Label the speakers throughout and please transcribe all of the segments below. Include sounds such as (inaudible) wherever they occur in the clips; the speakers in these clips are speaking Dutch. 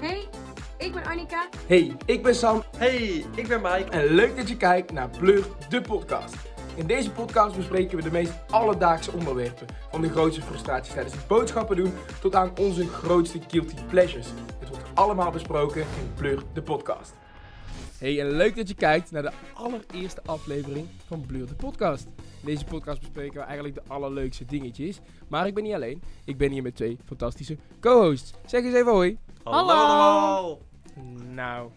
Speaker 1: Hey, ik ben Annika.
Speaker 2: Hey, ik ben Sam
Speaker 3: Hey, ik ben Mike.
Speaker 2: en leuk dat je kijkt naar Plug, de podcast. In deze podcast bespreken we de meest alledaagse onderwerpen. Van de grootste frustraties tijdens het boodschappen doen tot aan onze grootste guilty pleasures. Het wordt allemaal besproken in Plug, de podcast. Hey, en leuk dat je kijkt naar de allereerste aflevering van Blur de Podcast. In deze podcast bespreken we eigenlijk de allerleukste dingetjes. Maar ik ben niet alleen. Ik ben hier met twee fantastische co-hosts. Zeg eens even hoi.
Speaker 1: Hallo.
Speaker 3: allemaal.
Speaker 2: Nou,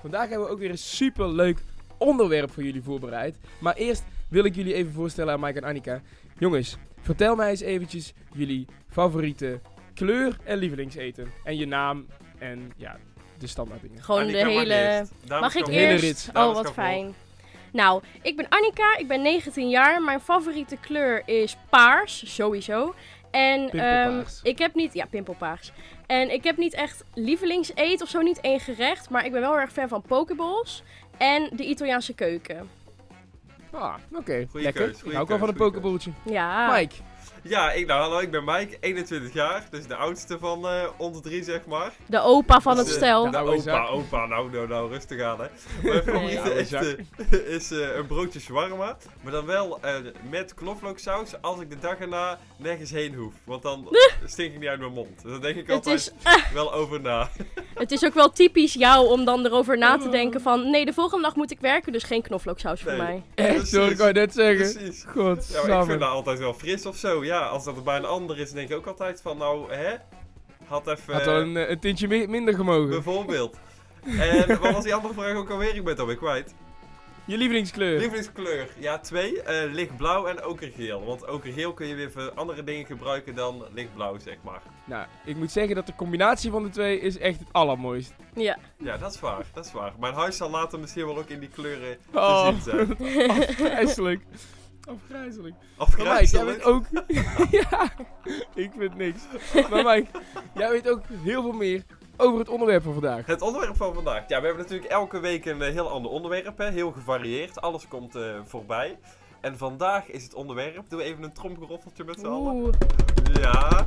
Speaker 2: vandaag hebben we ook weer een super leuk onderwerp voor jullie voorbereid. Maar eerst wil ik jullie even voorstellen aan Mike en Annika. Jongens, vertel mij eens eventjes jullie favoriete kleur en lievelingseten. En je naam en ja, de standaard dingen.
Speaker 4: Gewoon
Speaker 3: Annika
Speaker 4: de
Speaker 3: maar
Speaker 4: hele.
Speaker 3: dit. Dames
Speaker 4: Mag ik
Speaker 3: kan
Speaker 2: De hele
Speaker 4: eerst?
Speaker 2: rit.
Speaker 3: Dames
Speaker 4: Oh, wat
Speaker 3: kan voor.
Speaker 4: fijn. Nou, ik ben Annika, ik ben 19 jaar. Mijn favoriete kleur is paars, sowieso. En ehm,
Speaker 2: Pimpelpaars.
Speaker 4: ik heb niet. Ja, pimpelpaars. En ik heb niet echt lievelingseet of zo, niet één gerecht. Maar ik ben wel heel erg fan van pokeballs en de Italiaanse keuken.
Speaker 2: Ah, oké.
Speaker 3: Goeie
Speaker 2: Lekker.
Speaker 3: keus,
Speaker 2: ik
Speaker 3: goeie
Speaker 2: hou ook wel van
Speaker 3: keus,
Speaker 2: een
Speaker 3: goeie
Speaker 2: pokebolletje.
Speaker 4: Ja.
Speaker 2: Mike, (laughs)
Speaker 3: Ja, ik, nou, hallo, ik ben Mike, 21 jaar. Dus de oudste van eh ons drie, zeg maar.
Speaker 4: De opa van
Speaker 3: Dus,
Speaker 4: het
Speaker 3: eh,
Speaker 4: stel.
Speaker 2: nou,
Speaker 3: Nou,
Speaker 2: oude
Speaker 3: opa,
Speaker 2: zak.
Speaker 3: opa, nou, nou, nou, rustig aan,
Speaker 4: (laughs)
Speaker 3: hè. Mijn favoriete
Speaker 2: oude
Speaker 3: eten is eh, een broodje shawarma. Maar dan wel eh, met knoflooksaus als ik de dag erna nergens heen hoef. Want dan stink ik niet uit mijn mond. Dus daar denk ik
Speaker 4: Het
Speaker 3: altijd
Speaker 4: is,
Speaker 3: wel over na.
Speaker 4: het is ook wel typisch jou om dan erover na te denken van... Nee, de volgende dag moet ik werken, dus geen knoflooksaus voor
Speaker 3: Oh. Nee.
Speaker 4: mij.
Speaker 2: echt hoor, ik wou net zeggen.
Speaker 3: (laughs) Precies. Ja, maar ik vind
Speaker 2: Godsamme.
Speaker 3: dat altijd wel fris of zo. Ja, als dat er bij een ander is, denk ik ook altijd van, nou, hè? Had even...
Speaker 2: Had wel een, eh, een tintje mi- minder gemogen.
Speaker 3: Bijvoorbeeld. En wat was die andere vraag ook alweer? Ik ben het alweer kwijt.
Speaker 2: Je lievelingskleur.
Speaker 3: Lievelingskleur. Ja, twee. eh, lichtblauw en okergeel. Want okergeel kun je weer voor andere dingen gebruiken dan lichtblauw, zeg maar.
Speaker 2: Nou, ik moet zeggen dat de combinatie van de twee is echt het allermooist.
Speaker 4: Ja.
Speaker 3: Ja, dat is waar. Dat is waar. Mijn huis zal later misschien wel ook in die kleuren te
Speaker 2: Oh.
Speaker 3: zien zijn.
Speaker 2: Afgrijzelijk. Afgrijzelijk. Maar Mike, jij
Speaker 3: Afgrijzelijk.
Speaker 2: weet
Speaker 3: (laughs)
Speaker 2: ook... (laughs) ja, ik vind niks. Maar Mike, jij weet ook heel veel meer over het onderwerp van vandaag.
Speaker 3: Het onderwerp van vandaag. Ja, we hebben natuurlijk elke week een eh, heel ander onderwerp. Hè? Heel gevarieerd. Alles komt eh, voorbij. En vandaag is het onderwerp. Doe even een tromgeroffeltje met z'n allen.
Speaker 4: Oeh.
Speaker 3: Ja.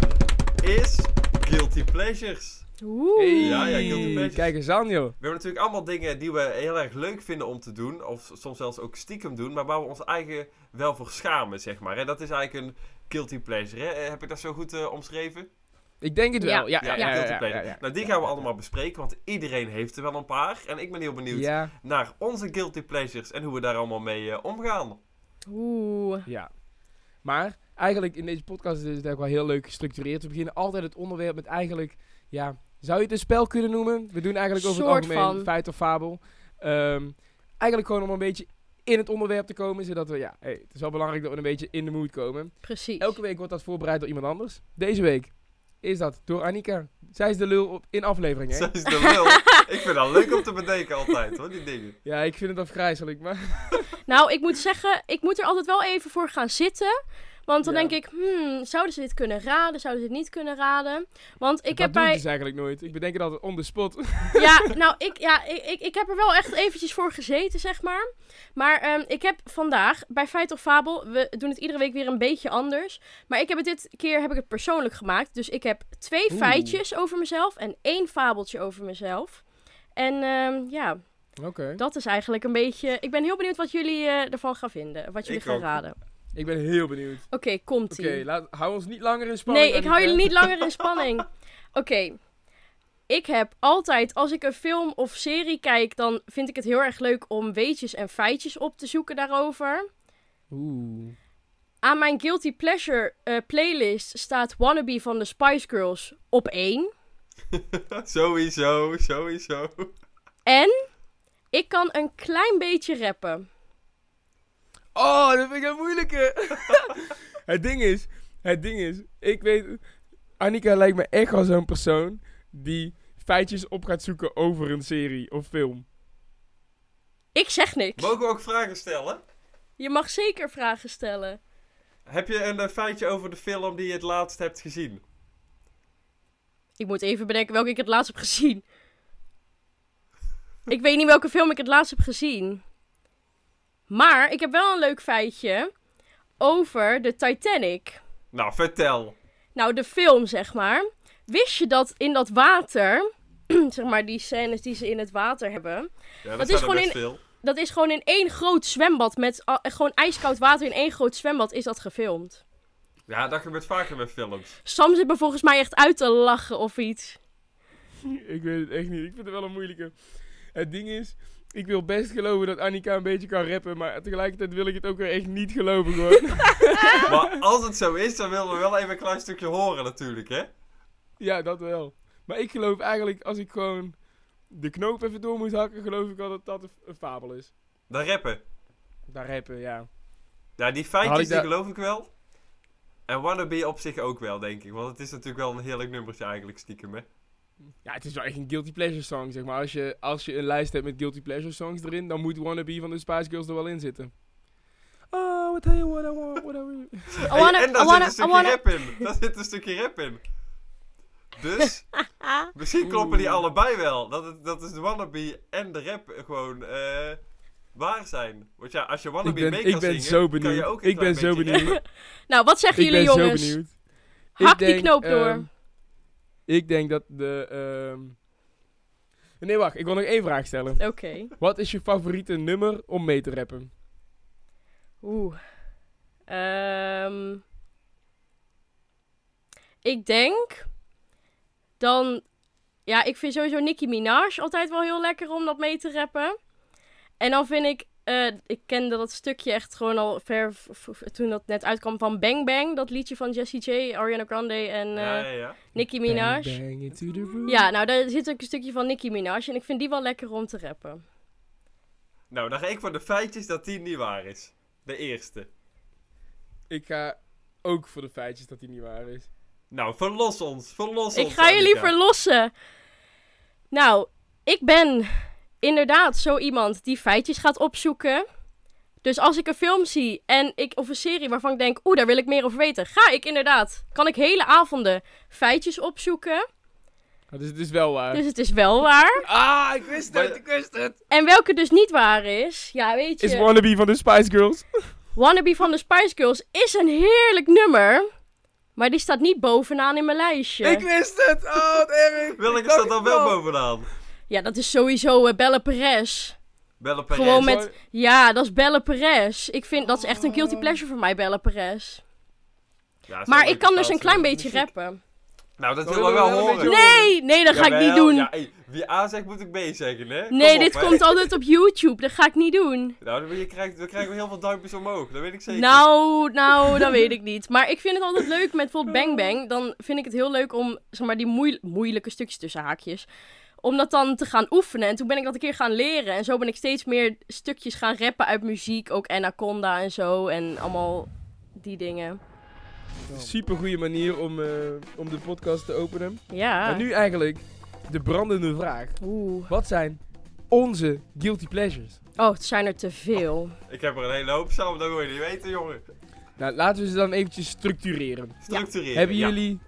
Speaker 3: Is guilty pleasures.
Speaker 4: Oeh.
Speaker 3: Ja, ja, guilty pleasures.
Speaker 2: Kijk eens aan, joh.
Speaker 3: We hebben natuurlijk allemaal dingen die we heel erg leuk vinden om te doen. Of soms zelfs ook stiekem doen. Maar waar we ons eigen wel voor schamen, zeg maar. Hè? Dat is eigenlijk een guilty pleasure. Hè? Eh, Heb ik dat zo goed eh, omschreven?
Speaker 2: Ik denk het wel. Ja,
Speaker 3: Ja,
Speaker 2: ja,
Speaker 3: een
Speaker 2: ja.
Speaker 3: guilty
Speaker 2: ja, ja,
Speaker 3: pleasure.
Speaker 2: ja.
Speaker 3: Nou, die gaan we allemaal bespreken. Want iedereen heeft er wel een paar. En ik ben heel benieuwd
Speaker 2: Ja,
Speaker 3: naar onze guilty pleasures. En hoe we daar allemaal mee eh, omgaan.
Speaker 4: Oeh.
Speaker 2: ja. Maar eigenlijk in deze podcast is het eigenlijk wel heel leuk gestructureerd. We beginnen altijd het onderwerp met eigenlijk... Ja, zou je het een spel kunnen noemen? We doen eigenlijk over
Speaker 4: Soort
Speaker 2: het algemeen
Speaker 4: van.
Speaker 2: feit of fabel. Ehm, eigenlijk gewoon om een beetje in het onderwerp te komen. Zodat we... Ja, hey, het is wel belangrijk dat we een beetje in de mood komen.
Speaker 4: Precies.
Speaker 2: Elke week wordt dat voorbereid door iemand anders. Deze week is dat door Annika. Zij is de lul op, in afleveringen.
Speaker 3: Zij is de lul. ik vind dat leuk om te bedenken altijd, hoor, die dingen.
Speaker 2: Ja, ik vind het afgrijzelijk, maar...
Speaker 4: Nou, ik moet zeggen, ik moet er altijd wel even voor gaan zitten. Want dan
Speaker 2: Ja.
Speaker 4: denk ik, hmm, zouden ze dit kunnen raden? Zouden ze dit niet kunnen raden? Want ik
Speaker 2: dat
Speaker 4: heb
Speaker 2: doe ik
Speaker 4: bij.
Speaker 2: dus eigenlijk nooit. Ik bedenk het altijd on the spot.
Speaker 4: Ja, nou, ik, ja, ik, ik, ik heb er wel echt eventjes voor gezeten, zeg maar. Maar ehm, ik heb vandaag bij Feit of Fabel, we doen het iedere week weer een beetje anders. Maar ik heb het dit keer heb ik het persoonlijk gemaakt. Dus ik heb twee
Speaker 2: Oeh.
Speaker 4: feitjes over mezelf en één fabeltje over mezelf. En ehm, ja,
Speaker 2: Oké.
Speaker 4: Dat is eigenlijk een beetje. Ik ben heel benieuwd wat jullie eh, ervan gaan vinden. Wat jullie
Speaker 3: Ik
Speaker 4: gaan
Speaker 3: ook.
Speaker 4: raden.
Speaker 2: Ik ben heel benieuwd.
Speaker 4: Oké, komt
Speaker 2: Oké,
Speaker 4: ie.
Speaker 2: laat- hou ons niet langer in spanning.
Speaker 4: nee, ik hou
Speaker 2: Annika.
Speaker 4: jullie niet langer in spanning. Oké. Ik heb altijd, als ik een film of serie kijk, dan vind ik het heel erg leuk om weetjes en feitjes op te zoeken daarover.
Speaker 2: Oeh.
Speaker 4: Aan mijn Guilty Pleasure eh, playlist staat Wannabe van de Spice Girls op 1.
Speaker 3: sowieso, sowieso.
Speaker 4: En ik kan een klein beetje rappen.
Speaker 2: Oh, dat vind ik een moeilijke. (laughs) het ding is, het ding is, ik weet, Annika lijkt me echt wel zo'n persoon die feitjes op gaat zoeken over een serie of film. (laughs)
Speaker 4: Ik zeg niks.
Speaker 3: Mogen we ook vragen stellen?
Speaker 4: Je mag zeker vragen stellen.
Speaker 3: Heb je een eh, feitje over de film die je het laatst hebt gezien?
Speaker 4: Ik moet even bedenken welke ik het laatst heb gezien. ik weet niet welke film ik het laatst heb gezien. Maar ik heb wel een leuk feitje over de Titanic.
Speaker 3: Nou, vertel.
Speaker 4: Nou, de film zeg maar. Wist je dat in dat water (clears throat) zeg maar, die scènes die ze in het water hebben.
Speaker 3: Ja, dat,
Speaker 4: is
Speaker 3: zijn er
Speaker 4: gewoon
Speaker 3: best
Speaker 4: in-
Speaker 3: veel.
Speaker 4: Dat is gewoon in één groot zwembad. Met al- gewoon ijskoud water in één groot zwembad is dat gefilmd.
Speaker 3: Ja, dat gebeurt vaker bij films.
Speaker 4: Sam zit me volgens mij echt uit te lachen of iets.
Speaker 2: Ik weet het echt niet. Ik vind het wel een moeilijke. Het ding is, ik wil best geloven dat Annika een beetje kan rappen, maar tegelijkertijd wil ik het ook weer echt niet
Speaker 4: (laughs)
Speaker 2: geloven gewoon.
Speaker 3: Maar als het zo is, dan willen we wel even een klein stukje horen natuurlijk, hè?
Speaker 2: ja, dat wel. Maar ik geloof eigenlijk, als ik gewoon de knoop even door moet hakken, geloof ik al dat dat een, een fabel is.
Speaker 3: Dan rappen.
Speaker 2: Daar rappen, ja.
Speaker 3: Ja, die
Speaker 2: Had
Speaker 3: feitjes
Speaker 2: ik
Speaker 3: die
Speaker 2: daar-
Speaker 3: geloof ik wel. En Wannabe op zich ook wel, denk ik. Want het is natuurlijk wel een heerlijk nummertje eigenlijk, stiekem, hè?
Speaker 2: Ja, het is wel echt een guilty pleasure song, zeg maar. Als je, als je een lijst hebt met guilty pleasure songs erin, dan moet Wannabe van de Spice Girls er wel in zitten. Oh, I tell you what I want, what I
Speaker 3: (laughs)
Speaker 2: really...
Speaker 4: I
Speaker 3: Hey,
Speaker 4: wanna-
Speaker 3: en
Speaker 4: I
Speaker 3: daar
Speaker 4: wanna- I
Speaker 3: zit een stukje
Speaker 4: wanna-
Speaker 3: rap in. Daar zit een stukje rap in.
Speaker 4: (laughs)
Speaker 3: Dus, misschien kloppen die
Speaker 2: Oeh.
Speaker 3: allebei wel. Dat, het- dat is de wannabe en de rap gewoon eh, waar zijn. Want ja, als je wannabe
Speaker 2: Ik ben,
Speaker 3: mee kan
Speaker 2: ik ben
Speaker 3: zingen,
Speaker 2: zo
Speaker 3: kan je
Speaker 2: benieuwd.
Speaker 3: ook een
Speaker 2: Ik ben zo
Speaker 3: klein beetje
Speaker 2: benieuwd.
Speaker 3: (laughs) rappen.
Speaker 4: Nou, wat zeggen
Speaker 2: ik
Speaker 4: jullie
Speaker 2: ben
Speaker 4: jongens?
Speaker 2: zo benieuwd.
Speaker 4: Hak
Speaker 2: Ik
Speaker 4: die
Speaker 2: denk,
Speaker 4: knoop door.
Speaker 2: ehm, ik denk dat de... ehm, Nee, wacht. Ik wil nog één vraag stellen.
Speaker 4: Oké.
Speaker 2: Wat is je favoriete nummer om mee te rappen?
Speaker 4: Oeh. Ehm. ik denk dan. Ja, ik vind sowieso Nicki Minaj altijd wel heel lekker om dat mee te rappen. En dan vind ik. eh, ik kende dat stukje echt gewoon al ver v- v- toen dat net uitkwam van Bang Bang. Dat liedje van Jessie J, Ariana Grande en eh,
Speaker 3: Ja, ja, ja.
Speaker 4: Nicki Minaj.
Speaker 2: Bang, bang into the room.
Speaker 4: Ja, nou daar zit ook een stukje van Nicki Minaj. En ik vind die wel lekker om te rappen.
Speaker 3: Nou, dan ga ik voor de feitjes dat die niet waar is. De eerste.
Speaker 2: Ik ga ook voor de feitjes dat die niet waar is.
Speaker 3: Nou, verlos ons. Verlos
Speaker 4: Ik
Speaker 3: ons,
Speaker 4: ga jullie
Speaker 3: Annika.
Speaker 4: verlossen. Nou, ik ben inderdaad zo iemand die feitjes gaat opzoeken. Dus als ik een film zie en ik, of een serie waarvan ik denk, oeh, daar wil ik meer over weten, ga ik inderdaad. Kan ik hele avonden feitjes opzoeken.
Speaker 2: Ah, dus het is wel waar.
Speaker 4: Dus het is wel waar.
Speaker 2: Ah, ik wist
Speaker 3: Maar-
Speaker 2: het. Ik wist het.
Speaker 4: En welke dus niet waar is, ja, weet
Speaker 2: Is
Speaker 4: je.
Speaker 2: Wannabe van de Spice Girls.
Speaker 4: Wannabe van de Spice Girls is een heerlijk nummer. Maar die staat niet bovenaan in mijn lijstje.
Speaker 2: Ik wist het. Oh, wat erg.
Speaker 3: Welke
Speaker 2: Ik dacht
Speaker 3: staat dan
Speaker 2: het
Speaker 3: wel bovenaan?
Speaker 4: Ja, dat is sowieso eh, Belle Perez.
Speaker 3: Belle Perez.
Speaker 4: Gewoon met-
Speaker 2: Sorry.
Speaker 4: Ja, dat is Belle Perez. Ik vind dat is echt een guilty pleasure voor mij, Belle Perez.
Speaker 3: Ja, zo
Speaker 4: Maar
Speaker 3: leuk
Speaker 4: ik kan dus
Speaker 3: vertaald,
Speaker 4: een klein
Speaker 3: zo.
Speaker 4: beetje rappen.
Speaker 3: Nou, dat
Speaker 2: Dan
Speaker 3: willen we
Speaker 2: willen we
Speaker 3: wel
Speaker 2: wel een
Speaker 3: horen.
Speaker 2: beetje
Speaker 4: Nee, nee, dat ga ik niet
Speaker 3: Jawel,
Speaker 4: doen.
Speaker 3: Ja, hey, wie A zegt, moet ik B zeggen, hè? Kom
Speaker 4: Nee,
Speaker 3: op,
Speaker 4: dit
Speaker 3: hè.
Speaker 4: komt altijd op YouTube. Dat ga ik niet doen.
Speaker 3: Nou, dan, ben je- krijgt, dan krijgen we heel veel duimpjes omhoog. Dat weet ik zeker.
Speaker 4: Nou, nou, dat weet ik niet. Maar ik vind het altijd leuk met bijvoorbeeld Bang Bang. Dan vind ik het heel leuk om, zeg maar, die moeil- moeilijke stukjes tussen haakjes. Om dat dan te gaan oefenen. En toen ben ik dat een keer gaan leren. En zo ben ik steeds meer stukjes gaan rappen uit muziek. Ook Anaconda en zo. En allemaal die dingen.
Speaker 2: Super goede manier om, eh, om de podcast te openen.
Speaker 4: Ja.
Speaker 2: Maar nu eigenlijk de brandende vraag.
Speaker 4: Oeh.
Speaker 2: Wat zijn onze guilty pleasures?
Speaker 4: Oh, het zijn er te veel.
Speaker 3: Ik heb er een hele hoop samen, dat wil je niet weten, jongen.
Speaker 2: Nou, laten we ze dan eventjes structureren.
Speaker 3: Structureren.
Speaker 2: hebben,
Speaker 3: Eh, ja.
Speaker 2: jullie,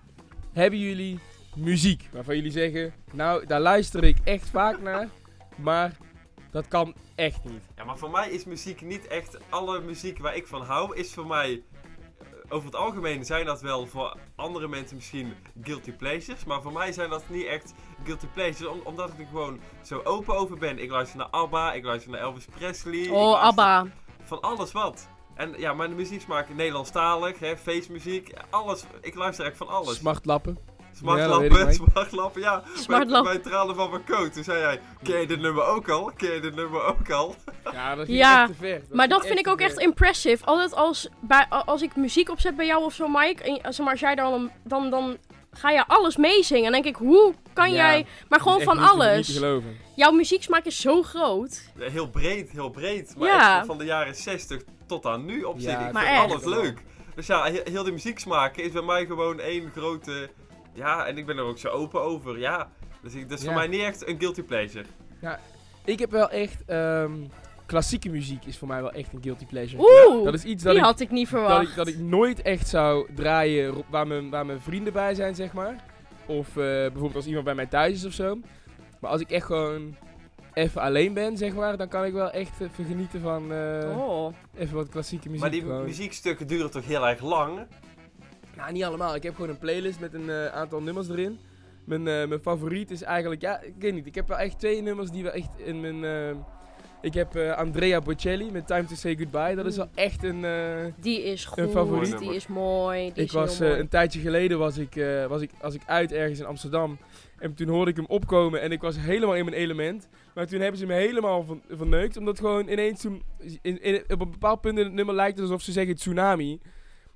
Speaker 2: hebben jullie muziek waarvan jullie zeggen... Nou, daar luister ik echt vaak naar, maar dat kan echt niet.
Speaker 3: Ja, maar voor mij is muziek niet echt... Alle muziek waar ik van hou, is voor mij... eh, Over het algemeen zijn dat wel voor andere mensen misschien guilty pleasures. Maar voor mij zijn dat niet echt guilty pleasures. om- omdat ik er gewoon zo open over ben. Ik luister naar ABBA, ik luister naar Elvis Presley. ik
Speaker 4: Oh,
Speaker 3: luister-
Speaker 4: Abba.
Speaker 3: (laughs) Van alles wat. En ja, mijn muzieksmaak Nederlandstalig, hè, feestmuziek, alles. Ik luister echt van alles.
Speaker 2: Smartlappen. Ja, dat
Speaker 3: smartlappen,
Speaker 2: weet ik,
Speaker 3: smartlappen, ja.
Speaker 4: Smartlap.
Speaker 3: Bij, bij tranen van mijn coat. Toen zei hij, ken je dit nummer ook al? Ken je dit nummer ook al?
Speaker 2: Ja,
Speaker 4: ging
Speaker 2: dat ging
Speaker 4: Ja, echt
Speaker 2: echt te ver.
Speaker 4: Maar dat vind ik ook echt impressive. Altijd als, bij, als ik muziek opzet bij jou of zo, Mike. En, eh, zeg maar, als jij daar dan, dan, dan ga je alles meezingen. En denk ik, hoe kan
Speaker 2: Ja,
Speaker 4: jij... Maar gewoon van
Speaker 2: Niet
Speaker 4: alles.
Speaker 2: te geloven.
Speaker 4: Jouw muzieksmaak is zo groot.
Speaker 3: Ja, Heel breed, heel breed. Maar
Speaker 4: Ja.
Speaker 3: echt van de jaren 60 tot aan nu op zich.
Speaker 2: Ja,
Speaker 3: ik
Speaker 4: Maar
Speaker 3: vind
Speaker 4: echt.
Speaker 3: alles leuk. Dus ja, he- heel die muzieksmaak is bij mij gewoon één grote... Ja, en ik ben er ook zo open over, ja. Dus ik, dat is
Speaker 2: Ja.
Speaker 3: voor mij niet echt een guilty pleasure.
Speaker 2: Ik heb wel echt... ehm, klassieke muziek is voor mij wel echt een guilty pleasure.
Speaker 4: Oeh,
Speaker 2: Dat is iets dat
Speaker 4: die
Speaker 2: ik
Speaker 4: had ik niet verwacht.
Speaker 2: dat ik, dat ik nooit echt zou draaien ro- waar mijn, waar mijn vrienden bij zijn, zeg maar. Of eh, bijvoorbeeld als iemand bij mij thuis is of zo. Maar als ik echt gewoon even alleen ben, zeg maar, dan kan ik wel echt even genieten van eh,
Speaker 4: Oh.
Speaker 2: even wat klassieke muziek.
Speaker 3: Maar die
Speaker 2: gewoon.
Speaker 3: muziekstukken duren toch heel erg lang?
Speaker 2: Nou, niet allemaal. Ik heb gewoon een playlist met een eh, aantal nummers erin. Mijn, eh, mijn favoriet is eigenlijk, ja, ik weet niet. Ik heb wel echt twee nummers die wel echt in mijn. eh, ik heb eh, Andrea Bocelli met Time to Say Goodbye. Dat is wel echt een. eh,
Speaker 4: Die is goed,
Speaker 2: Een favoriet.
Speaker 4: die is mooi, die
Speaker 2: ik
Speaker 4: is
Speaker 2: was
Speaker 4: heel
Speaker 2: eh,
Speaker 4: mooi.
Speaker 2: een tijdje geleden was ik, eh, was ik, als ik uit ergens in Amsterdam. En toen hoorde ik hem opkomen en ik was helemaal in mijn element. Maar toen hebben ze me helemaal van, verneukt. Omdat gewoon ineens toen. In, in- op een bepaald punt in het nummer lijkt het alsof ze zeggen tsunami.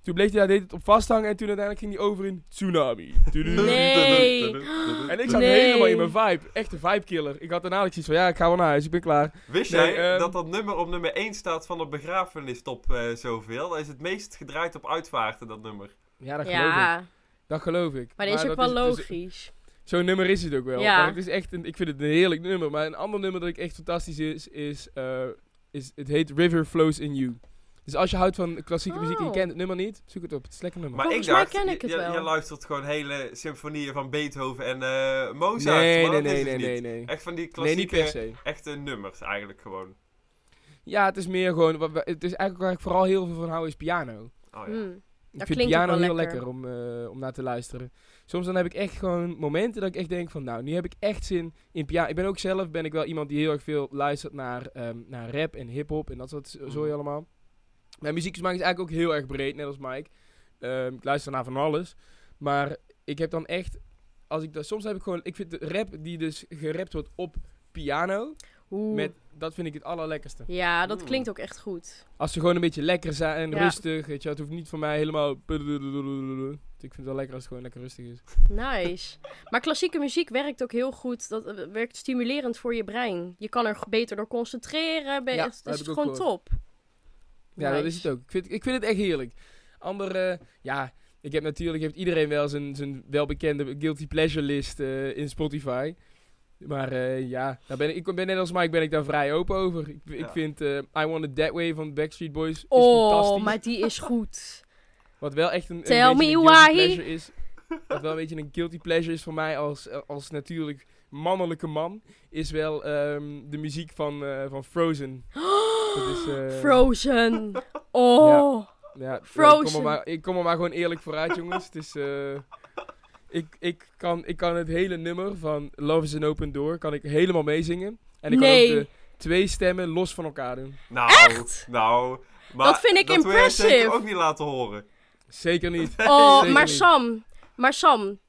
Speaker 2: Toen bleef hij daar de hele tijd op vasthangen en toen uiteindelijk ging hij over in tsunami.
Speaker 4: Nee.
Speaker 2: En ik zat
Speaker 4: Nee.
Speaker 2: helemaal in mijn vibe. Echt een vibe killer. Ik had daarna ook zoiets van ja, ik ga wel naar huis, ik ben klaar.
Speaker 3: Wist
Speaker 2: Nee,
Speaker 3: jij
Speaker 2: ehm,
Speaker 3: dat dat nummer op nummer 1 staat van de begrafenistop eh zoveel? Dat is het meest gedraaid op uitvaarten, dat nummer.
Speaker 2: Ja, dat geloof ik.
Speaker 4: ja,
Speaker 2: Dat geloof ik.
Speaker 4: maar dat is ook wel
Speaker 2: het
Speaker 4: logisch.
Speaker 2: Zo'n nummer is het ook wel.
Speaker 4: Ja.
Speaker 2: Maar het is echt een, ik vind het een heerlijk nummer. Maar een ander nummer dat ik echt fantastisch is, is, eh, is het heet River Flows in You. Dus als je houdt van klassieke muziek en je
Speaker 4: Oh.
Speaker 2: kent het nummer niet, zoek het op. Het is een lekker nummer.
Speaker 3: Maar
Speaker 4: Volgens
Speaker 3: ik
Speaker 4: mij
Speaker 3: dacht,
Speaker 4: ken ik het
Speaker 3: je- je,
Speaker 4: wel.
Speaker 3: je luistert gewoon hele symfonieën van Beethoven en eh Mozart.
Speaker 2: nee,
Speaker 3: maar
Speaker 2: nee,
Speaker 3: dat is
Speaker 2: nee,
Speaker 3: het
Speaker 2: nee,
Speaker 3: niet.
Speaker 2: nee, nee.
Speaker 3: Echt van die
Speaker 2: Nee, niet
Speaker 3: klassieke,
Speaker 2: per se.
Speaker 3: echte nummers eigenlijk gewoon.
Speaker 2: Ja, het is meer gewoon, wat we- het is eigenlijk waar ik vooral heel veel van hou is piano.
Speaker 3: Oh, ja.
Speaker 4: Hm.
Speaker 2: Ik
Speaker 4: Dat
Speaker 2: vind
Speaker 4: klinkt ook
Speaker 2: piano
Speaker 4: wel
Speaker 2: heel lekker,
Speaker 4: lekker.
Speaker 2: om, eh, om naar te luisteren. Soms dan heb ik echt gewoon momenten dat ik echt denk van, nou, nu heb ik echt zin in piano. Ik ben ook zelf, ben ik wel iemand die heel erg veel luistert naar, ehm, naar rap en hip-hop en dat soort
Speaker 4: Mm.
Speaker 2: zo- zooi
Speaker 3: Mhm.
Speaker 2: allemaal. Mijn muzieksmaak is eigenlijk ook heel erg breed, net als Mike. Ehm, ik luister naar van alles. Maar ik heb dan echt, als ik dat, soms heb ik gewoon, ik vind de rap die dus gerapt wordt op piano,
Speaker 4: Oeh.
Speaker 2: met, dat vind ik het allerlekkerste.
Speaker 4: Ja, dat
Speaker 3: Oeh.
Speaker 4: klinkt ook echt goed.
Speaker 2: Als ze gewoon een beetje lekker zijn en
Speaker 4: Ja.
Speaker 2: rustig. Weet je, wel, het hoeft niet voor mij helemaal. Ik vind het wel lekker als het gewoon lekker rustig is.
Speaker 4: Nice. maar klassieke muziek werkt ook heel goed. Dat eh, werkt stimulerend voor je brein. Je kan er g- beter door concentreren. Be-
Speaker 2: Ja,
Speaker 4: het
Speaker 2: dat heb
Speaker 4: is
Speaker 2: ik ook
Speaker 4: gewoon top.
Speaker 2: Ja, dat is het ook. Ik vind, ik vind het echt heerlijk. Andere, ja, ik heb natuurlijk heeft iedereen wel zijn, zijn welbekende guilty pleasure list eh, in Spotify. Maar eh, ja, daar ben ik, ik ben net als Mike ben ik daar vrij open over. Ik, ik
Speaker 3: Ja.
Speaker 2: vind eh, I Want It That Way van Backstreet Boys is
Speaker 4: Oh,
Speaker 2: fantastisch.
Speaker 4: maar die is goed.
Speaker 2: Wat wel echt een, een
Speaker 4: Tell
Speaker 2: beetje
Speaker 4: me
Speaker 2: een guilty
Speaker 4: why.
Speaker 2: pleasure is. Wat wel een beetje een guilty pleasure is voor mij als, als natuurlijk mannelijke man. Is wel ehm, de muziek van, eh, van Frozen. Dat
Speaker 4: (gasps)
Speaker 2: is, (laughs) eh,
Speaker 4: Frozen.
Speaker 2: (laughs)
Speaker 4: Oh.
Speaker 2: ja, Ik kom,
Speaker 4: Frozen.
Speaker 2: er maar, ik kom er maar gewoon eerlijk vooruit jongens. Het is... eh, ik, ik, kan, ik kan het hele nummer van Love is an Open Door kan ik helemaal meezingen. En ik kan
Speaker 4: Nee.
Speaker 2: ook de twee stemmen los van elkaar doen.
Speaker 3: Nou, nou. Maar
Speaker 4: Dat vind ik
Speaker 3: dat wil jij zeker
Speaker 4: impressive.
Speaker 3: ook niet laten horen.
Speaker 2: Zeker niet.
Speaker 4: Oh,
Speaker 2: (laughs) Zeker
Speaker 4: maar
Speaker 2: niet.
Speaker 4: Sam, maar Sam,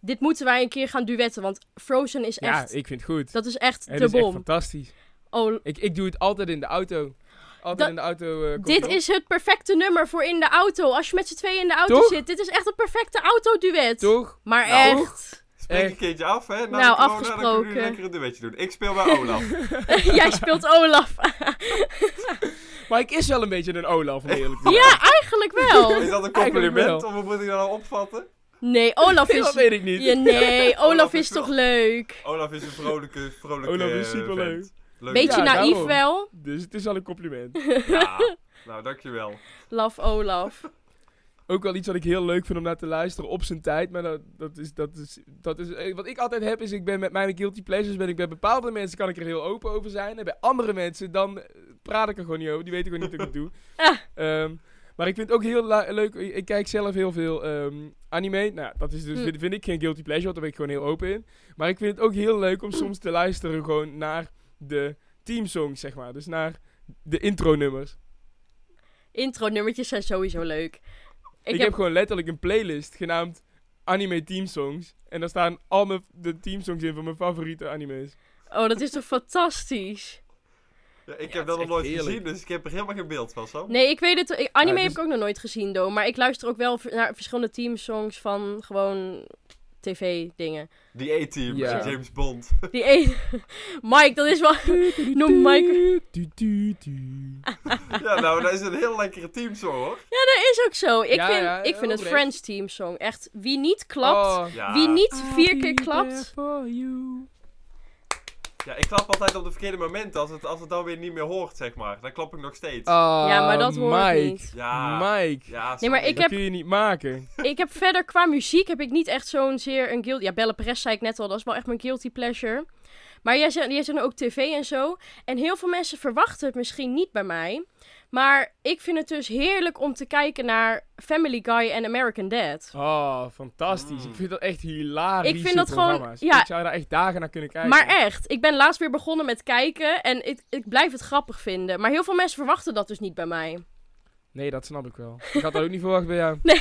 Speaker 4: dit moeten wij een keer gaan duetten, want Frozen is
Speaker 2: Ja,
Speaker 4: echt,
Speaker 2: ik vind het goed.
Speaker 4: dat is echt
Speaker 2: Het
Speaker 4: de
Speaker 2: is echt
Speaker 4: bom.
Speaker 2: fantastisch.
Speaker 4: Oh,
Speaker 2: Ik, ik doe het altijd in de auto. Altijd
Speaker 4: Dat-
Speaker 2: in de auto. eh, komt
Speaker 4: dit
Speaker 2: het op.
Speaker 4: is het perfecte nummer voor in de auto. Als je met z'n tweeën in de auto
Speaker 2: Toch?
Speaker 4: zit, dit is echt het perfecte autoduet.
Speaker 2: Toch?
Speaker 4: Maar
Speaker 3: Nou.
Speaker 4: echt,
Speaker 3: (laughs)
Speaker 4: (laughs)
Speaker 3: Spreek
Speaker 2: Echt.
Speaker 3: een keertje af, hè? Na de
Speaker 4: Nou,
Speaker 3: corona, Dan kunnen
Speaker 4: afgesproken.
Speaker 3: jullie lekker een duetje doen. Ik speel bij
Speaker 4: (laughs)
Speaker 3: Olaf.
Speaker 4: jij speelt Olaf.
Speaker 2: Maar ik is wel een beetje een Olaf, om eerlijk te
Speaker 4: ja, eigenlijk wel.
Speaker 3: Is dat een
Speaker 2: Eigenlijk
Speaker 3: compliment?
Speaker 2: wel.
Speaker 3: Of hoe moet ik dat nou opvatten?
Speaker 4: Nee, Olaf
Speaker 2: zeggen. Dat
Speaker 4: is...
Speaker 2: weet (laughs) ik niet.
Speaker 4: Ja, nee, Olaf
Speaker 3: Olaf
Speaker 4: is
Speaker 3: is
Speaker 4: toch
Speaker 3: wel-
Speaker 4: leuk?
Speaker 3: Olaf is een vrolijke, vrolijke
Speaker 2: Olaf is
Speaker 3: eh,
Speaker 2: superleuk.
Speaker 3: vent. Leuk.
Speaker 4: Beetje
Speaker 2: Ja,
Speaker 4: naïef
Speaker 2: daarom.
Speaker 4: wel.
Speaker 2: Dus het is al een compliment.
Speaker 3: Ja. Nou, dankjewel.
Speaker 4: Love Olaf.
Speaker 2: Ook wel iets wat ik heel leuk vind om naar te luisteren op zijn tijd. Maar dat, dat is, dat is, dat is, eh, wat ik altijd heb is, ik ben met mijn guilty pleasures, ben ik bij bepaalde mensen kan ik er heel open over zijn. En bij andere mensen, dan eh, praat ik er gewoon niet over. Die weten gewoon niet dat ik het doe.
Speaker 4: (laughs) Ah.
Speaker 2: Ehm, maar ik vind het ook heel la- leuk, ik ik kijk zelf heel veel ehm, anime. Nou, dat is dus,
Speaker 4: Hm.
Speaker 2: vind, vind ik geen guilty pleasure, want daar ben ik gewoon heel open in. Maar ik vind het ook heel leuk om soms te luisteren gewoon naar de teamsongs, zeg maar. Dus naar de intro-nummers.
Speaker 4: Intro-nummertjes zijn sowieso leuk.
Speaker 2: Ik, heb... gewoon letterlijk een playlist genaamd Anime Teamsongs. En daar staan al mijn, de teamsongs in van mijn favoriete anime's.
Speaker 4: Oh, dat is toch fantastisch?
Speaker 3: Ja, ik
Speaker 2: het
Speaker 3: heb
Speaker 2: is
Speaker 3: dat nog
Speaker 2: echt
Speaker 3: nooit
Speaker 2: heerlijk.
Speaker 3: gezien, dus ik heb er helemaal geen beeld van, Sam.
Speaker 4: Nee, ik weet het. ik- anime
Speaker 2: Ja, dus-
Speaker 4: heb ik ook nog nooit gezien, though. Maar ik luister ook wel v- naar verschillende teamsongs van gewoon tv-dingen.
Speaker 3: Die A-team,
Speaker 2: Ja.
Speaker 3: James
Speaker 4: (laughs)
Speaker 3: Bond.
Speaker 4: Die één... Mike, dat is wel... (laughs) Noem Mike...
Speaker 2: Du- du- du.
Speaker 3: ja, nou, dat is een heel lekkere teamsong, hoor.
Speaker 4: Ja, dat is ook zo. Ik
Speaker 2: Ja,
Speaker 4: vind,
Speaker 2: ja,
Speaker 4: ik vind het
Speaker 2: oprecht.
Speaker 4: Friends teamsong echt... Wie niet klapt...
Speaker 2: Oh. eh,
Speaker 3: Ja.
Speaker 4: Wie niet vier
Speaker 2: I'll
Speaker 4: keer
Speaker 2: be there
Speaker 4: klapt...
Speaker 2: for you.
Speaker 3: Ja, ik klap altijd op de verkeerde momenten, als het, als het dan weer niet meer hoort, zeg maar. Dan klap ik nog steeds.
Speaker 4: Ja, maar dat
Speaker 2: Ah,
Speaker 4: hoor
Speaker 2: Mike.
Speaker 4: ik niet.
Speaker 3: Ja.
Speaker 2: Mike.
Speaker 3: Ja,
Speaker 4: Nee, maar ik
Speaker 3: sorry.
Speaker 2: Dat
Speaker 4: heb,
Speaker 2: kun je niet maken.
Speaker 4: ik heb verder qua muziek heb ik niet echt zo'n zeer een guilty... Ja, Belle Perez zei ik net al, dat is wel echt mijn guilty pleasure. Maar jij zegt, jij zegt nu ook tv en zo. En heel veel mensen verwachten het misschien niet bij mij. Maar ik vind het dus heerlijk om te kijken naar Family Guy en American Dad.
Speaker 2: Oh, fantastisch.
Speaker 3: Mm.
Speaker 2: Ik vind dat echt hilarisch.
Speaker 4: Ik vind dat gewoon-
Speaker 2: programma's.
Speaker 4: ja.
Speaker 2: Ik zou daar echt dagen naar kunnen kijken.
Speaker 4: Maar echt, ik ben laatst weer begonnen met kijken en ik, ik blijf het grappig vinden. Maar heel veel mensen verwachten dat dus niet bij mij.
Speaker 2: Nee, dat snap ik wel. Ik had dat ook niet verwacht bij jou.
Speaker 4: Nee.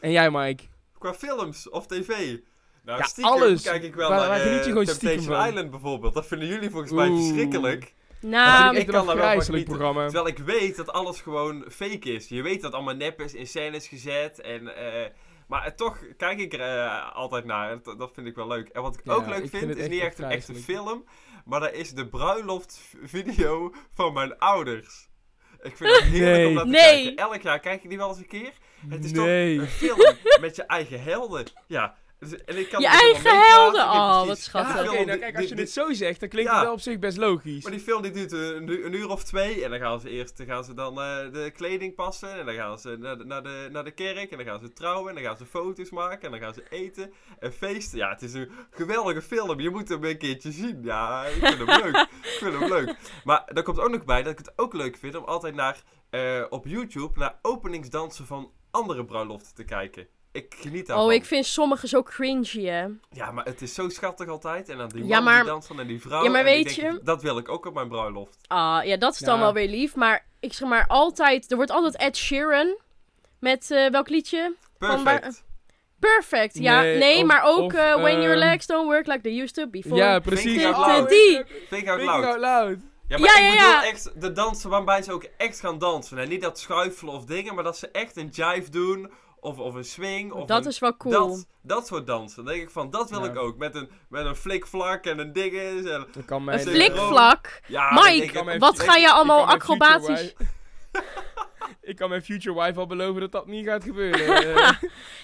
Speaker 2: En jij, Mike?
Speaker 3: Qua films of tv. Nou,
Speaker 2: Ja,
Speaker 3: stiekem
Speaker 2: alles.
Speaker 3: kijk ik wel
Speaker 2: Waar-
Speaker 3: naar
Speaker 2: waar
Speaker 3: eh,
Speaker 2: geniet je gewoon stiekem
Speaker 3: Temptation
Speaker 2: van?
Speaker 3: Island bijvoorbeeld. Dat vinden jullie volgens mij
Speaker 2: Oeh.
Speaker 3: verschrikkelijk.
Speaker 2: Dat
Speaker 4: Nou,
Speaker 2: vind ik
Speaker 3: ik
Speaker 2: echt
Speaker 3: kan daar
Speaker 2: een
Speaker 3: wel van
Speaker 2: afgrijzelijk
Speaker 3: genieten.
Speaker 2: programma.
Speaker 3: Terwijl ik weet dat alles gewoon fake is. Je weet dat allemaal nep is, in scène is gezet. En, eh, maar eh, toch kijk ik er eh, altijd naar. En Dat, dat vind ik wel leuk. En wat ik
Speaker 2: Ja,
Speaker 3: ook leuk
Speaker 2: ik
Speaker 3: vind,
Speaker 2: vind het
Speaker 3: is
Speaker 2: echt
Speaker 3: niet echt een echte
Speaker 2: afgrijzelijk.
Speaker 3: film. Maar dat is de bruiloftvideo van mijn ouders. Ik vind het heerlijk
Speaker 2: Nee.
Speaker 3: om dat te
Speaker 4: Nee.
Speaker 3: kijken. Elk jaar kijk ik die wel eens een keer. Het is
Speaker 2: nee.
Speaker 3: toch een film (laughs) met je eigen helden. Ja. Dus- En ik kan
Speaker 4: Je
Speaker 3: er helemaal
Speaker 4: eigen
Speaker 3: mee praten.
Speaker 4: helden.
Speaker 3: Ik denk,
Speaker 4: Oh,
Speaker 3: precies,
Speaker 4: wat
Speaker 3: ja,
Speaker 4: schattig.
Speaker 2: Ah,
Speaker 3: film,
Speaker 2: Oké, nou
Speaker 3: dit-
Speaker 2: kijk, als je
Speaker 3: dit-
Speaker 2: dit zo zegt, dan klinkt
Speaker 3: Ja.
Speaker 2: het wel op zich best logisch.
Speaker 3: maar die film die duurt een, u- een uur of twee. En dan gaan ze eerst dan gaan ze dan, eh, de kleding passen. En dan gaan ze naar de, naar, de, naar de kerk. En dan gaan ze trouwen. En dan gaan ze foto's maken. En dan gaan ze eten. En feesten. Ja, het is een geweldige film. Je moet hem een keertje zien. Ja, ik vind hem leuk. Ik vind hem leuk. Maar daar komt ook nog bij dat ik het ook leuk vind om altijd naar, eh, op YouTube naar openingsdansen van andere bruiloften te kijken. Ik geniet daarvan.
Speaker 4: oh, ik vind sommige zo cringy, hè.
Speaker 3: Ja, maar het is zo schattig altijd. En dan die
Speaker 4: Ja,
Speaker 3: man
Speaker 4: maar-
Speaker 3: die danst dan en die vrouw.
Speaker 4: Ja, maar
Speaker 3: en ik
Speaker 4: weet
Speaker 3: denk,
Speaker 4: je-
Speaker 3: Dat wil ik ook op mijn bruiloft.
Speaker 4: Ah, ja, dat is dan
Speaker 2: Ja.
Speaker 4: wel weer lief. Maar ik zeg maar altijd, er wordt altijd Ed Sheeran met eh, welk liedje? Van waar-
Speaker 3: Perfect.
Speaker 4: Perfect, ja.
Speaker 2: Nee,
Speaker 4: Nee,
Speaker 2: of-
Speaker 4: maar ook
Speaker 2: of,
Speaker 4: eh, When Your
Speaker 2: ehm,
Speaker 4: Legs Don't Work Like They Used To Before.
Speaker 2: ja, precies.
Speaker 3: Think out
Speaker 2: Oh,
Speaker 3: loud.
Speaker 4: Die.
Speaker 3: Think out
Speaker 2: Think out
Speaker 3: loud.
Speaker 2: loud.
Speaker 3: Ja, maar
Speaker 4: Ja,
Speaker 3: ik
Speaker 4: ja,
Speaker 3: bedoel
Speaker 4: ja.
Speaker 3: echt de dansen waarbij ze ook echt gaan dansen. En niet dat schuifelen of dingen, maar dat ze echt een jive doen. Of, of een swing. Of
Speaker 4: dat
Speaker 3: een-
Speaker 4: is wel cool.
Speaker 3: Dat, dat soort dansen. Dan denk ik van, dat wil
Speaker 2: Ja.
Speaker 3: ik ook. Met een, met een flikvlak en een dinges. En,
Speaker 2: Dat kan
Speaker 4: Een
Speaker 2: mij.
Speaker 3: zeker.
Speaker 4: flikvlak.
Speaker 3: ja, dan denk
Speaker 4: Mike,
Speaker 2: kan
Speaker 3: ik-
Speaker 2: mijn-
Speaker 4: wat ga je (laughs) allemaal
Speaker 2: Oh. Ik kan mijn
Speaker 4: acrobatisch...
Speaker 2: future wife- (laughs) ik kan mijn future wife al beloven dat dat niet gaat gebeuren. Eh,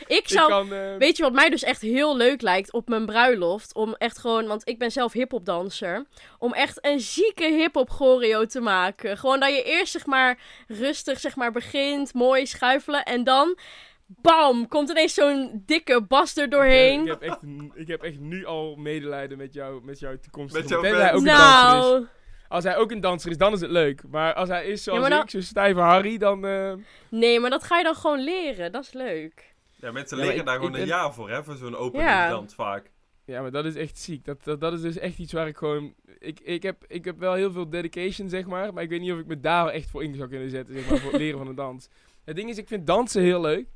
Speaker 4: Ik zou...
Speaker 2: kan, eh,
Speaker 4: Weet je wat mij dus echt heel leuk lijkt op mijn bruiloft? Om echt gewoon, want ik ben zelf hiphopdanser. Om echt een zieke hiphop choreo te maken. Gewoon dat je eerst zeg maar rustig zeg maar begint, mooi schuifelen. En dan, bam, komt ineens zo'n dikke bas er doorheen.
Speaker 2: Ik heb, echt, ik heb echt nu al medelijden met, jou, met jouw toekomstige
Speaker 3: Met jouw
Speaker 2: band.
Speaker 3: fans.
Speaker 2: Hij ook een danser is.
Speaker 4: nou,
Speaker 2: Als hij ook een danser is, dan is het leuk. Maar als hij is zoals
Speaker 4: Ja, maar dan-
Speaker 2: ik, zo'n stijve Harry, dan... eh,
Speaker 4: nee, maar dat ga je dan gewoon leren. Dat is leuk.
Speaker 3: Ja, mensen
Speaker 2: Ja, maar
Speaker 3: leren
Speaker 2: ik-
Speaker 3: daar
Speaker 2: ik
Speaker 3: gewoon een
Speaker 2: ben-
Speaker 3: jaar voor, hè. Voor zo'n opening
Speaker 4: Ja.
Speaker 3: dans vaak.
Speaker 2: Ja, maar dat is echt ziek. Dat, dat, dat is dus echt iets waar ik gewoon... Ik, ik, heb, ik heb wel heel veel dedication, zeg maar. Maar ik weet niet of ik me daar echt voor in zou kunnen zetten, zeg maar, voor het leren van de dans. Het ding is, ik vind dansen heel leuk.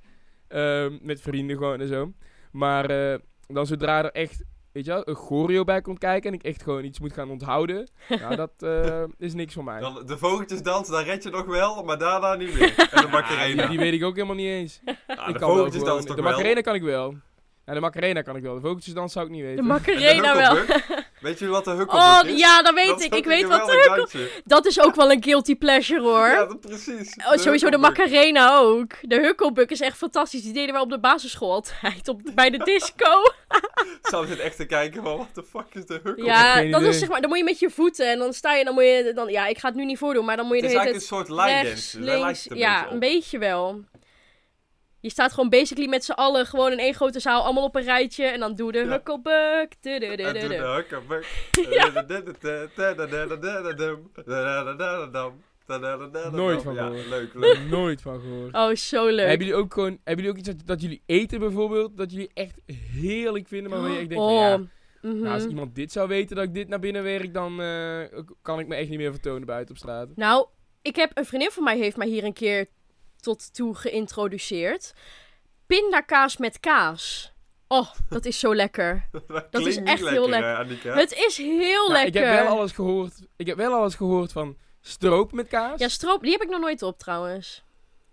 Speaker 2: Ehm, met vrienden gewoon en zo. Maar eh, dan zodra er echt, weet je wel, een choreo bij komt kijken... en ik echt gewoon iets moet gaan onthouden... nou, dat eh, is niks voor mij.
Speaker 3: Dan, de vogeltjesdans, daar red je nog wel, maar daarna niet meer.
Speaker 2: (laughs)
Speaker 3: En de
Speaker 2: Die,
Speaker 3: Macarena.
Speaker 2: Ah, die weet ik ook helemaal niet eens.
Speaker 3: Ja,
Speaker 2: ik
Speaker 3: Ah, de
Speaker 2: kan wel gewoon-
Speaker 3: vogeltjesdans toch
Speaker 2: De
Speaker 3: wel.
Speaker 2: Macarena kan ik wel. Ja, de Macarena kan ik wel. De vogeltjesdans zou ik niet
Speaker 4: De
Speaker 2: weten.
Speaker 3: En de
Speaker 4: Macarena wel.
Speaker 3: Hukkelbuk. Weet jullie wat
Speaker 4: (laughs)
Speaker 3: de
Speaker 4: Oh,
Speaker 3: hukkelbuk is?
Speaker 4: ja, dat weet
Speaker 3: Dat is
Speaker 4: ik.
Speaker 3: ook
Speaker 4: Ik
Speaker 3: een
Speaker 4: weet wat.
Speaker 3: geweldig dansje.
Speaker 4: Dat is ook wel een guilty pleasure hoor.
Speaker 3: Ja, dat- precies.
Speaker 4: Oh, sowieso de
Speaker 3: hukkelbuk.
Speaker 4: Macarena ook. De Hukkelbuk is echt fantastisch. Die deden we op de basisschool altijd. Op, bij de
Speaker 3: (laughs)
Speaker 4: disco.
Speaker 3: Zou dit echt te kijken van, what the fuck is de hukkelbuk?
Speaker 4: ja,
Speaker 2: geen
Speaker 4: dat
Speaker 2: idee.
Speaker 4: is zeg maar. Dan moet je met je voeten en dan sta je. Dan moet je dan, ja, ik ga het nu niet voordoen, maar dan moet je
Speaker 3: Het
Speaker 4: de
Speaker 3: is
Speaker 4: hele
Speaker 3: eigenlijk een
Speaker 4: tijd
Speaker 3: soort line
Speaker 4: rechts,
Speaker 3: dance. Daar lijkt
Speaker 4: links.
Speaker 3: het een
Speaker 4: Ja,
Speaker 3: beetje
Speaker 4: een
Speaker 3: op.
Speaker 4: beetje wel. Je staat gewoon basically met z'n allen gewoon in één grote zaal, allemaal op een rijtje. En dan doe de Hukkelbuk. Du- du- du-
Speaker 3: En
Speaker 4: du-
Speaker 3: toen
Speaker 4: du.
Speaker 3: de hukkelbuk.
Speaker 4: (laughs)
Speaker 2: Nooit van
Speaker 3: Ja,
Speaker 2: gehoord.
Speaker 3: Leuk, leuk. (laughs)
Speaker 2: Nooit van gehoord.
Speaker 4: Oh, zo leuk.
Speaker 2: Hebben jullie ook gewoon, hebben jullie ook iets dat, dat jullie eten bijvoorbeeld, dat jullie echt heerlijk vinden, maar waar je echt denkt, van, ja,
Speaker 4: Oh.
Speaker 2: nou, als
Speaker 4: mhm.
Speaker 2: iemand dit zou weten dat ik dit naar binnen werk, dan eh, k- kan ik me echt niet meer vertonen buiten op straat.
Speaker 4: Nou, ik heb een vriendin van mij heeft mij hier een keer tot toe geïntroduceerd. Pindakaas met kaas. Oh, dat is zo lekker.
Speaker 3: Dat
Speaker 4: is
Speaker 3: klinkt
Speaker 4: echt
Speaker 3: niet
Speaker 4: heel
Speaker 3: hè, Annika?
Speaker 4: Het is heel
Speaker 2: Nou, ik
Speaker 4: lekker.
Speaker 2: heb wel alles gehoord, ik heb wel alles gehoord van stroop met kaas,
Speaker 4: Ja, stroop, die heb ik nog nooit op trouwens.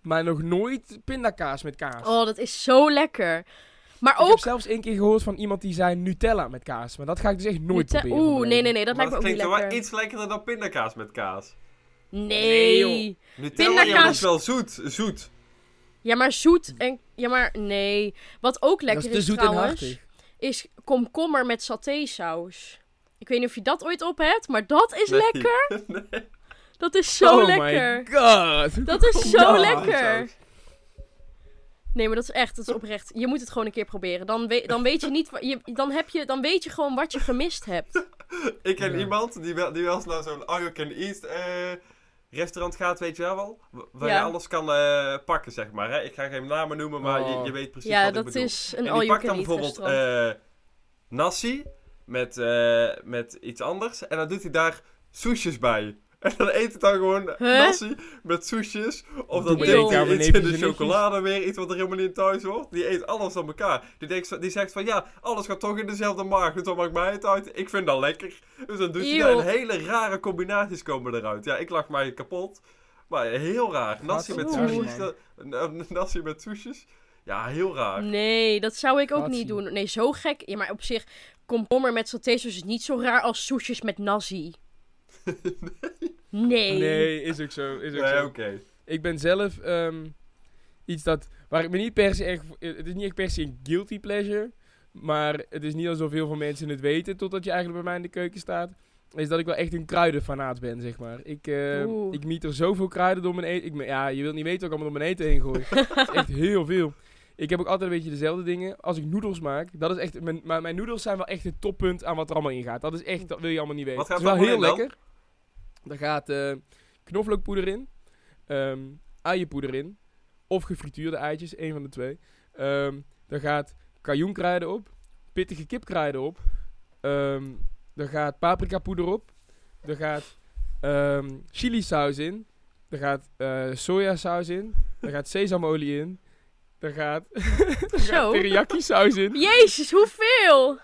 Speaker 2: maar nog nooit pindakaas met kaas.
Speaker 4: Oh, dat is zo lekker. Maar
Speaker 2: Ik
Speaker 4: ook...
Speaker 2: heb zelfs één keer gehoord van iemand die zei Nutella met kaas, maar dat ga ik dus echt nooit
Speaker 4: Nute-
Speaker 2: proberen.
Speaker 4: Oeh, nee, nee, nee, dat
Speaker 3: Maar
Speaker 4: lijkt me ook
Speaker 3: het
Speaker 4: niet
Speaker 3: klinkt toch
Speaker 4: lekker.
Speaker 3: wel iets lekkerder dan pindakaas met kaas.
Speaker 4: Nee.
Speaker 2: Nee, joh.
Speaker 3: Nutella ja, maar dat
Speaker 4: Pindakaas-
Speaker 3: is wel zoet. Zoet.
Speaker 4: ja, maar zoet en... Ja, maar nee. Wat ook
Speaker 2: Dat
Speaker 4: lekker
Speaker 2: is
Speaker 4: is,
Speaker 2: te zoet en
Speaker 4: trouwens...
Speaker 2: hartig.
Speaker 4: is komkommer met satésaus. Ik weet niet of je dat ooit op hebt, maar dat is
Speaker 3: Nee.
Speaker 4: lekker. Dat is zo
Speaker 2: oh
Speaker 4: lekker.
Speaker 2: my god.
Speaker 3: Oh,
Speaker 4: Dat is zo
Speaker 2: Ja.
Speaker 4: lekker. Nee, maar dat is echt, dat is
Speaker 3: Oh.
Speaker 4: oprecht. Je moet het gewoon een keer proberen. Dan, we- dan weet je niet, wa- je, dan, heb je, dan weet je gewoon wat je gemist hebt.
Speaker 3: (laughs) Ik ken
Speaker 5: Ja.
Speaker 3: iemand die wel, die wel eens naar zo'n All You Can Eat eh, restaurant gaat, weet je wel wel? w- Waar je
Speaker 4: Ja.
Speaker 3: alles kan eh, pakken, zeg maar. Hè? Ik ga geen namen noemen, maar je,
Speaker 2: Oh.
Speaker 3: je weet precies
Speaker 4: Ja,
Speaker 3: wat ik
Speaker 4: dat
Speaker 3: bedoel.
Speaker 4: is een
Speaker 3: en die pakt dan
Speaker 4: all-you-can-eat
Speaker 3: bijvoorbeeld
Speaker 4: restaurant.
Speaker 3: eh, nasi met, eh, met iets anders. En dan doet hij daar soesjes bij. (laughs) En dan eet het dan gewoon
Speaker 4: Huh?
Speaker 3: nasi met soesjes. Of dan
Speaker 2: Doe
Speaker 4: maar
Speaker 3: deed
Speaker 4: niet,
Speaker 3: hij
Speaker 2: ouwe
Speaker 3: iets in
Speaker 2: neefjes
Speaker 3: de
Speaker 2: en nichtjes.
Speaker 3: chocolade weer. Iets wat er helemaal niet thuis hoort. Die eet alles aan elkaar. Die, denkt, zo- die zegt van ja, alles gaat toch in dezelfde maag. Dus wat maakt mij het uit? Ik vind dat lekker. Dus dan doet hij daar
Speaker 4: Eeuw.
Speaker 3: en hele rare combinaties komen eruit. Ja, ik lag mij kapot. Maar heel raar. Nasi met
Speaker 4: Oeh.
Speaker 3: soesjes. dat- eh, Nasi met soesjes. Ja, heel raar.
Speaker 4: Nee, dat zou ik ook
Speaker 2: Gatsie.
Speaker 4: niet doen. Nee, zo gek. Ja, maar op zich, komkommer met satésaus is niet zo raar als soesjes met
Speaker 3: (laughs)
Speaker 4: nazi. Nee.
Speaker 2: Nee, is ook zo. Is ook
Speaker 3: Nee,
Speaker 2: zo.
Speaker 3: oké.
Speaker 2: Ik ben zelf ehm, iets dat. Waar ik me niet per se echt. voor- eh, Het is niet echt per se een guilty pleasure. Maar het is niet alsof heel veel mensen het weten. Totdat je eigenlijk bij mij in de keuken staat. Is dat ik wel echt een kruidenfanaat ben, zeg maar. Ik, eh,
Speaker 4: Oeh.
Speaker 2: ik miet er zoveel kruiden door mijn eten. Ik, me- ja, je wilt niet weten wat ik allemaal door mijn eten heen gooi. Het is echt heel veel. Ik heb ook altijd een beetje dezelfde dingen. Als ik noedels maak, dat is echt. Mijn, maar mijn noedels zijn wel echt het toppunt aan wat er allemaal in gaat. Dat is echt, dat wil je allemaal niet weten.
Speaker 3: Wat gaat
Speaker 2: het is wel
Speaker 3: er
Speaker 2: heel
Speaker 3: allemaal in
Speaker 2: lekker. Daar gaat eh, knoflookpoeder in, ehm uienpoeder in, of gefrituurde eitjes, een van de twee. Ehm daar gaat kajoenkruiden op, pittige kipkruiden op, ehm daar gaat paprikapoeder op, daar gaat ehm chili saus in, daar gaat eh, sojasaus in, daar gaat sesamolie in, daar gaat, daar gaat
Speaker 4: Zo.
Speaker 2: teriyaki saus in.
Speaker 4: Jezus, hoeveel?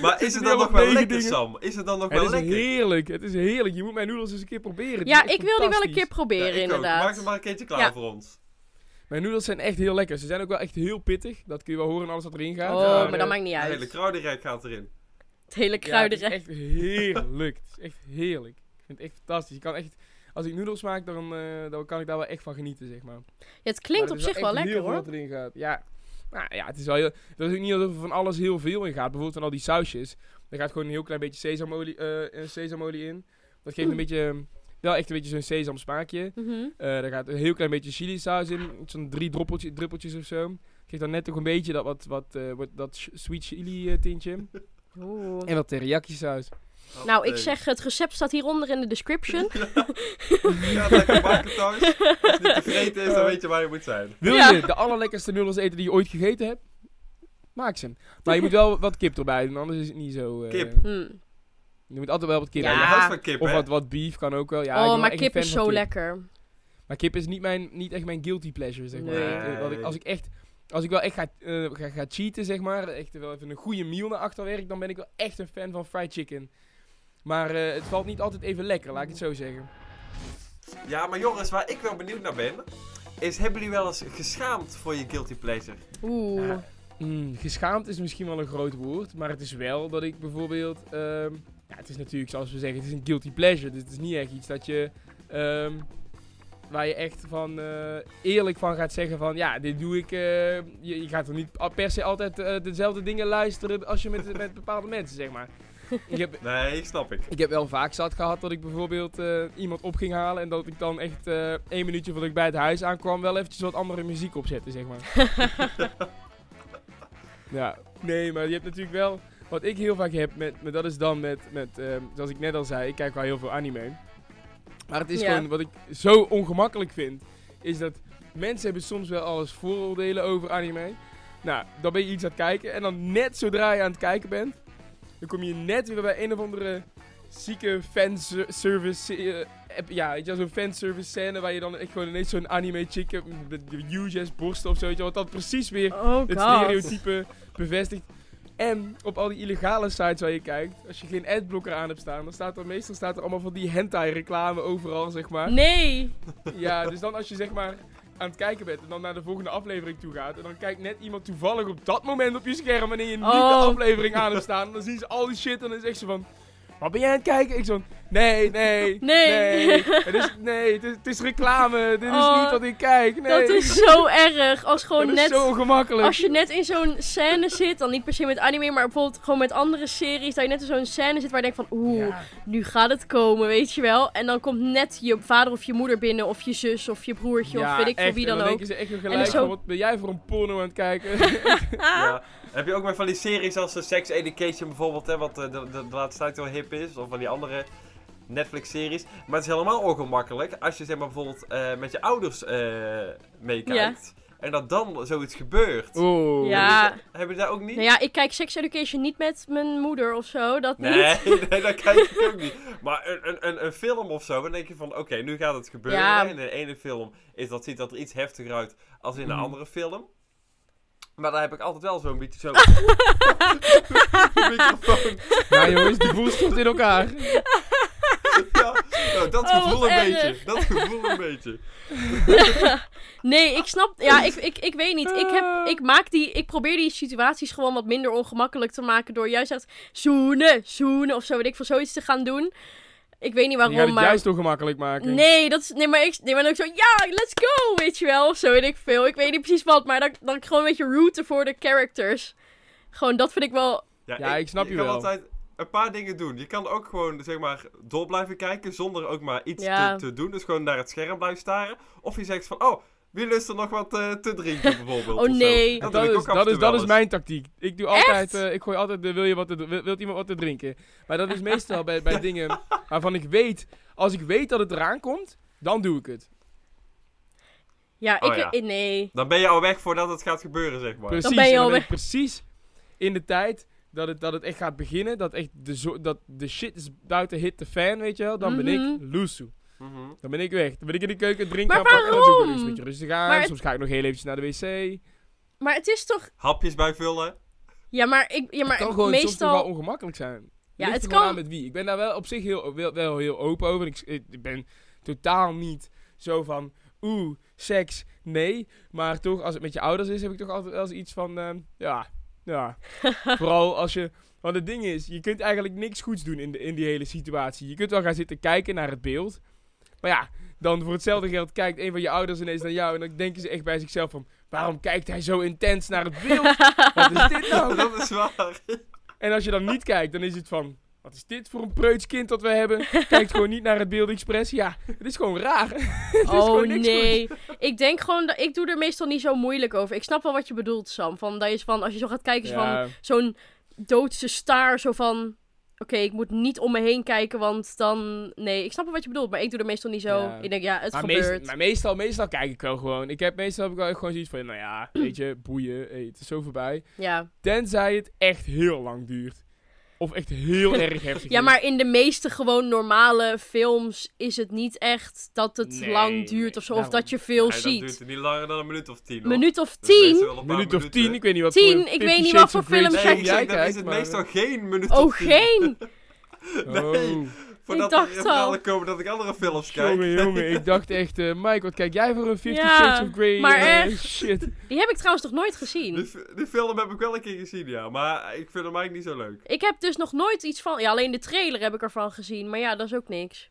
Speaker 3: Maar
Speaker 2: zitten
Speaker 3: is het
Speaker 2: nu
Speaker 3: dan
Speaker 2: al
Speaker 3: nog
Speaker 2: op
Speaker 3: wel
Speaker 2: negen
Speaker 3: lekker,
Speaker 2: dingen.
Speaker 3: Sam? Is het dan nog
Speaker 2: Het
Speaker 3: wel
Speaker 2: is
Speaker 3: lekker?
Speaker 2: heerlijk, het is heerlijk. Je moet mijn noedels eens een keer proberen. Die
Speaker 4: Ja,
Speaker 2: is echt
Speaker 4: ik wil die wel een keer
Speaker 2: fantastisch.
Speaker 3: Ja,
Speaker 4: proberen,
Speaker 3: ik ook. Maak
Speaker 4: inderdaad.
Speaker 3: het maar een keertje klaar
Speaker 4: Ja.
Speaker 3: voor ons.
Speaker 2: Mijn noedels zijn echt heel lekker. Ze zijn ook wel echt heel pittig. Dat kun je wel horen en alles wat erin gaat.
Speaker 4: Oh,
Speaker 3: Ja,
Speaker 4: maar
Speaker 2: eh,
Speaker 4: dat maakt niet
Speaker 3: Het
Speaker 4: uit.
Speaker 3: hele kruidenrijk gaat erin.
Speaker 4: Het hele
Speaker 2: ja, het is
Speaker 4: kruidenrecht.
Speaker 2: echt heerlijk. het is echt heerlijk. Ik vind het echt fantastisch. Je kan echt, als ik noedels maak, dan, eh, dan kan ik daar wel echt van genieten, zeg maar.
Speaker 4: Ja, het klinkt op zich wel lekker,
Speaker 2: heel veel
Speaker 4: hoor.
Speaker 2: wat erin gaat. Ja. Nou ja, het is wel heel... Dat is ook niet alsof er van alles heel veel in gaat. Bijvoorbeeld van al die sausjes. Er gaat gewoon een heel klein beetje sesamolie, eh, eh, sesamolie in. Dat
Speaker 4: Hmm.
Speaker 2: geeft een beetje... eh, Wel echt een beetje zo'n sesamsmaakje.
Speaker 4: Mhm.
Speaker 2: Eh daar gaat een heel klein beetje chili saus in. Zo'n drie droppeltje, druppeltjes of zo. Geeft dan net toch een beetje dat, wat, wat, eh, wat, dat ch- sweet chili eh, tintje.
Speaker 4: Oeh.
Speaker 2: en wat teriyaki saus.
Speaker 4: Nou, ik
Speaker 3: Nee.
Speaker 4: zeg, het recept staat hieronder in de
Speaker 2: (laughs)
Speaker 4: description.
Speaker 3: Ga het lekker maken thuis. Als het niet tevreden is, dan weet je waar je moet zijn.
Speaker 2: Wil
Speaker 4: Ja.
Speaker 2: je de allerlekkerste noedels eten die je ooit gegeten hebt? Maak ze. Maar je moet wel wat kip erbij doen, anders is het niet zo... eh,
Speaker 3: Kip.
Speaker 4: Hm.
Speaker 2: Je moet altijd wel wat kip
Speaker 3: Ja,
Speaker 4: Ja.
Speaker 3: je
Speaker 2: hebben.
Speaker 3: houdt van kip,
Speaker 2: Of
Speaker 3: hè?
Speaker 2: wat, wat beef kan ook wel. Ja, ik ben
Speaker 4: oh,
Speaker 2: wel
Speaker 4: maar
Speaker 2: echt een
Speaker 4: kip is
Speaker 2: fan
Speaker 4: zo
Speaker 2: van kip.
Speaker 4: lekker.
Speaker 2: Maar kip is niet, mijn, niet echt mijn guilty pleasure, zeg maar.
Speaker 4: Nee.
Speaker 2: Eh, wat ik, als ik echt... Als ik wel echt ga, eh, ga, ga cheaten, zeg maar, echt wel even een goede meal naar achterwerk, dan ben ik wel echt een fan van fried chicken. Maar eh, het valt niet altijd even lekker, laat ik het zo zeggen.
Speaker 3: Ja, maar jongens, waar ik wel benieuwd naar ben... Is, hebben jullie wel eens geschaamd voor je guilty pleasure?
Speaker 4: Oeh.
Speaker 3: Ja.
Speaker 2: Mm, geschaamd is misschien wel een groot woord, maar het is wel dat ik bijvoorbeeld... ehm, ja, het is natuurlijk, zoals we zeggen, het is een guilty pleasure. Dus het is niet echt iets dat je... ehm, waar je echt van eh, eerlijk van gaat zeggen van... Ja, dit doe ik... eh, je, je gaat er niet al- per se altijd eh, dezelfde dingen luisteren als je met, met bepaalde mensen, zeg maar. Ik heb,
Speaker 3: Nee, snap ik.
Speaker 2: ik heb wel vaak zat gehad dat ik bijvoorbeeld eh, iemand op ging halen... en dat ik dan echt eh, één minuutje voordat ik bij het huis aankwam... wel eventjes wat andere muziek opzette, zeg maar. Ja, nee, maar je hebt natuurlijk wel. Wat ik heel vaak heb, met, met, dat is dan met. met ehm, zoals ik net al zei, ik kijk wel heel veel anime. Maar het is
Speaker 4: Ja.
Speaker 2: gewoon wat ik zo ongemakkelijk vind. Is dat mensen hebben soms wel alles vooroordelen over anime. Nou, dan ben je iets aan het kijken. En dan net zodra je aan het kijken bent, dan kom je net weer bij een of andere zieke fanservice. eh, app- ja, weet je wel, zo'n fanservice scène waar je dan echt gewoon ineens zo'n anime chick eh, hebt met huge ass borsten of zo. Weet je wel, wat dat precies weer (laughs)
Speaker 4: Oh
Speaker 2: het
Speaker 4: god.
Speaker 2: stereotype bevestigt. En op al die illegale sites waar je kijkt, als je geen adblocker aan hebt staan, dan staat er meestal staat er allemaal van die hentai-reclame overal, zeg maar.
Speaker 4: Nee.
Speaker 2: Ja, dus dan als je zeg maar aan het kijken bent en dan naar de volgende aflevering toe gaat, en dan kijkt net iemand toevallig op dat moment op je scherm wanneer je niet
Speaker 4: Oh.
Speaker 2: de aflevering aan hebt staan, dan zien ze al die shit en dan zegt ze van, wat ben jij aan het kijken? Ik zo, van, Nee, nee.
Speaker 4: Nee.
Speaker 2: Het is, nee, het is, het is reclame. Dit is
Speaker 4: Oh,
Speaker 2: niet wat ik kijk. Nee.
Speaker 4: Dat is zo erg. Als gewoon
Speaker 2: Het is
Speaker 4: net...
Speaker 2: zo gemakkelijk.
Speaker 4: Als je net in zo'n scène zit, dan niet per se met anime, maar bijvoorbeeld gewoon met andere series, dat je net in zo'n scène zit waar je denkt van, oeh,
Speaker 2: Ja.
Speaker 4: nu gaat het komen, weet je wel. En dan komt net je vader of je moeder binnen, of je zus, of je broertje, of weet ik
Speaker 2: echt,
Speaker 4: veel wie
Speaker 2: en
Speaker 4: dan ook.
Speaker 2: denken ze echt weer gelijk
Speaker 4: zo-
Speaker 2: van, wat ben jij voor een porno aan het kijken?
Speaker 3: Ja. Heb je ook maar van die series als eh, Sex Education bijvoorbeeld, hè, wat eh, de, de, de laatste tijd wel hip is, of van die andere Netflix-series. Maar het is helemaal ongemakkelijk als je zeg maar bijvoorbeeld eh, met je ouders eh, meekijkt. En dat dan zoiets gebeurt.
Speaker 2: Oeh.
Speaker 4: Ja.
Speaker 3: Heb je daar ook niet?
Speaker 4: Nou ja, ik kijk Sex Education niet met mijn moeder of zo, dat niet.
Speaker 3: Nee, (laughs) nee, dat kijk ik ook niet. Maar een, een, een, een film of zo, dan denk je van, oké, nu gaat het gebeuren.
Speaker 4: Ja.
Speaker 3: In de ene film is dat, ziet dat er iets heftiger uit als in de
Speaker 2: Mhm.
Speaker 3: andere film. Maar daar heb ik altijd wel
Speaker 4: (laughs)
Speaker 3: zo'n beetje zo'n (laughs) microfoon.
Speaker 2: Nou jongens, die boel stort in elkaar.
Speaker 3: (laughs) Ja, nou, dat
Speaker 4: Oh, wat
Speaker 3: gevoel een
Speaker 4: erg.
Speaker 3: beetje. Dat gevoel een beetje.
Speaker 4: Nee, ik snap, ja, ik, ik, ik weet niet. Ik,
Speaker 2: Ah.
Speaker 4: heb, ik, maak die, ik probeer die situaties gewoon wat minder ongemakkelijk te maken door juist echt zoenen, zoenen of zo, weet ik veel, zoiets te gaan doen. Ik weet niet
Speaker 2: Je gaat
Speaker 4: waarom,
Speaker 2: het
Speaker 4: maar...
Speaker 2: juist ongemakkelijk maken.
Speaker 4: Nee, dat is, nee, maar ik, nee, maar dan ook zo, ja, let's go, weet je wel, of zo weet ik veel. Ik weet niet precies wat, maar dan, dan gewoon een beetje rooten voor de characters. Gewoon, dat vind ik wel,
Speaker 2: Ja, ik snap je
Speaker 3: kan
Speaker 2: wel.
Speaker 3: altijd een paar dingen doen. Je kan ook gewoon, zeg maar, door blijven kijken zonder ook maar iets
Speaker 4: Ja.
Speaker 3: te, te doen. Dus gewoon naar het scherm blijven staren. Of je zegt van, oh, wie lust er nog wat eh, te drinken bijvoorbeeld?
Speaker 4: Oh,
Speaker 3: of zo.
Speaker 4: nee.
Speaker 3: Dat,
Speaker 2: Dat,
Speaker 3: doe ik
Speaker 2: is,
Speaker 3: ook af en
Speaker 2: dat,
Speaker 3: toe
Speaker 2: is, dat
Speaker 3: wel
Speaker 2: is
Speaker 3: eens.
Speaker 2: mijn tactiek. Ik doe altijd, eh, ik gooi altijd, de wil je wat te, wil, wilt iemand wat te drinken? Maar dat is meestal bij,
Speaker 3: (laughs)
Speaker 2: bij dingen waarvan ik weet, als ik weet dat het eraan komt, dan doe ik het.
Speaker 4: ja,
Speaker 3: Oh,
Speaker 4: ik,
Speaker 3: ja.
Speaker 4: eh, nee.
Speaker 3: Dan ben je al weg voordat het gaat gebeuren, zeg maar.
Speaker 2: Precies,
Speaker 4: Dan ben je
Speaker 2: en
Speaker 4: al
Speaker 2: ben
Speaker 4: weg.
Speaker 2: ik precies in de tijd dat het, dat het echt gaat beginnen, dat echt de, zo- dat de shit is buiten hit de fan, weet je wel, dan ben
Speaker 4: Mhm.
Speaker 2: ik loesoe.
Speaker 3: Mhm.
Speaker 2: Dan ben ik weg. Dan ben ik in de keuken drinken
Speaker 4: Maar
Speaker 2: aan pakken en dan doe ik
Speaker 4: waarom?
Speaker 2: wel eens een beetje rustig aan.
Speaker 4: Maar het-
Speaker 2: Soms ga ik nog heel eventjes naar de wc.
Speaker 4: Maar het is toch,
Speaker 3: Hapjes bijvullen.
Speaker 4: ja, maar ik, ja, maar
Speaker 2: het kan gewoon soms toch
Speaker 4: meestal,
Speaker 2: wel ongemakkelijk zijn.
Speaker 4: ja,
Speaker 2: Ligt
Speaker 4: het
Speaker 2: er gewoon
Speaker 4: kan,
Speaker 2: aan met wie. Ik ben daar wel op zich heel, wel, wel heel open over. Ik, ik ben totaal niet zo van, oeh, seks, nee. Maar toch, als het met je ouders is, heb ik toch altijd wel eens iets van, ehm,
Speaker 4: (laughs)
Speaker 2: ja, ja. Vooral als je... Want het ding is, je kunt eigenlijk niks goeds doen in, de, in die hele situatie. Je kunt wel gaan zitten kijken naar het beeld. Maar ja, dan voor hetzelfde geld kijkt een van je ouders ineens naar jou. En dan denken ze echt bij zichzelf van, waarom kijkt hij zo intens naar het
Speaker 4: (laughs)
Speaker 2: beeld? Wat is dit nou?
Speaker 3: dat is waar.
Speaker 4: Oh,
Speaker 2: En als je dan niet kijkt, dan is het van... Wat is dit voor een preutskind dat we hebben? Kijkt gewoon niet naar het beeld expres. Ja, het is gewoon raar. Het (laughs) is
Speaker 4: oh
Speaker 2: gewoon niks
Speaker 4: nee. Ik denk gewoon, dat, ik doe er meestal niet zo moeilijk over. Ik snap wel wat je bedoelt, Sam, van, dat je van, als je zo gaat kijken,
Speaker 2: goeds.
Speaker 4: is van,
Speaker 2: Ja,
Speaker 4: zo'n doodse staar. Zo van: Oké, ik moet niet om me heen kijken, want dan. Nee, ik snap wel wat je bedoelt, maar ik doe er meestal niet zo.
Speaker 2: Ja.
Speaker 4: Ik denk, ja, het
Speaker 2: maar,
Speaker 4: gebeurt.
Speaker 2: meestal, maar meestal, meestal kijk ik wel gewoon. Ik heb meestal heb ik wel echt gewoon zoiets van... Nou (clears throat) ja, weet je, boeien. hey, het is zo voorbij.
Speaker 4: Ja.
Speaker 2: Tenzij het echt heel lang duurt. Of echt (laughs) heel erg heftig
Speaker 4: ja,
Speaker 2: is.
Speaker 4: maar in de meeste gewoon normale films is het niet echt dat het
Speaker 2: Nee,
Speaker 4: lang duurt
Speaker 2: nee,
Speaker 4: of zo, of
Speaker 2: daarom.
Speaker 4: dat je veel
Speaker 3: Nee, dat duurt
Speaker 4: ziet.
Speaker 3: het niet langer dan een minuut of tien. hoor.
Speaker 4: Minuut of
Speaker 3: Dat is meestal
Speaker 4: tien?
Speaker 3: wel een
Speaker 2: Een
Speaker 3: paar
Speaker 2: minuut of
Speaker 3: minuten.
Speaker 2: tien, ik weet niet wat
Speaker 4: Tien,
Speaker 2: voor
Speaker 4: ik
Speaker 2: Fifty
Speaker 4: weet niet
Speaker 2: Shades
Speaker 4: wat voor
Speaker 2: of Grey
Speaker 4: films
Speaker 3: Nee,
Speaker 4: jij
Speaker 3: ik
Speaker 2: jij
Speaker 3: zeg, dan
Speaker 2: kijkt,
Speaker 3: is het
Speaker 2: maar-
Speaker 3: meestal geen minuut
Speaker 4: Oh,
Speaker 3: of tien.
Speaker 4: geen!
Speaker 3: Nee.
Speaker 2: Oh.
Speaker 3: Voordat
Speaker 4: Ik
Speaker 3: er
Speaker 4: dacht al.
Speaker 3: verhalen komen dat ik andere films kijk. (laughs)
Speaker 2: Jongen, jongen, ik dacht echt, eh, Mike, wat kijk jij voor een Fifty
Speaker 4: Ja,
Speaker 2: Shades of Grey?
Speaker 4: maar
Speaker 2: eh,
Speaker 4: echt.
Speaker 2: Shit.
Speaker 4: Die heb ik trouwens nog nooit
Speaker 3: Die,
Speaker 4: gezien.
Speaker 3: fi- die film heb ik wel een keer gezien, ja. Maar ik vind hem eigenlijk niet zo leuk.
Speaker 4: Ik heb dus nog nooit iets van. Ja, alleen de trailer heb ik ervan gezien, maar ja, dat is ook niks.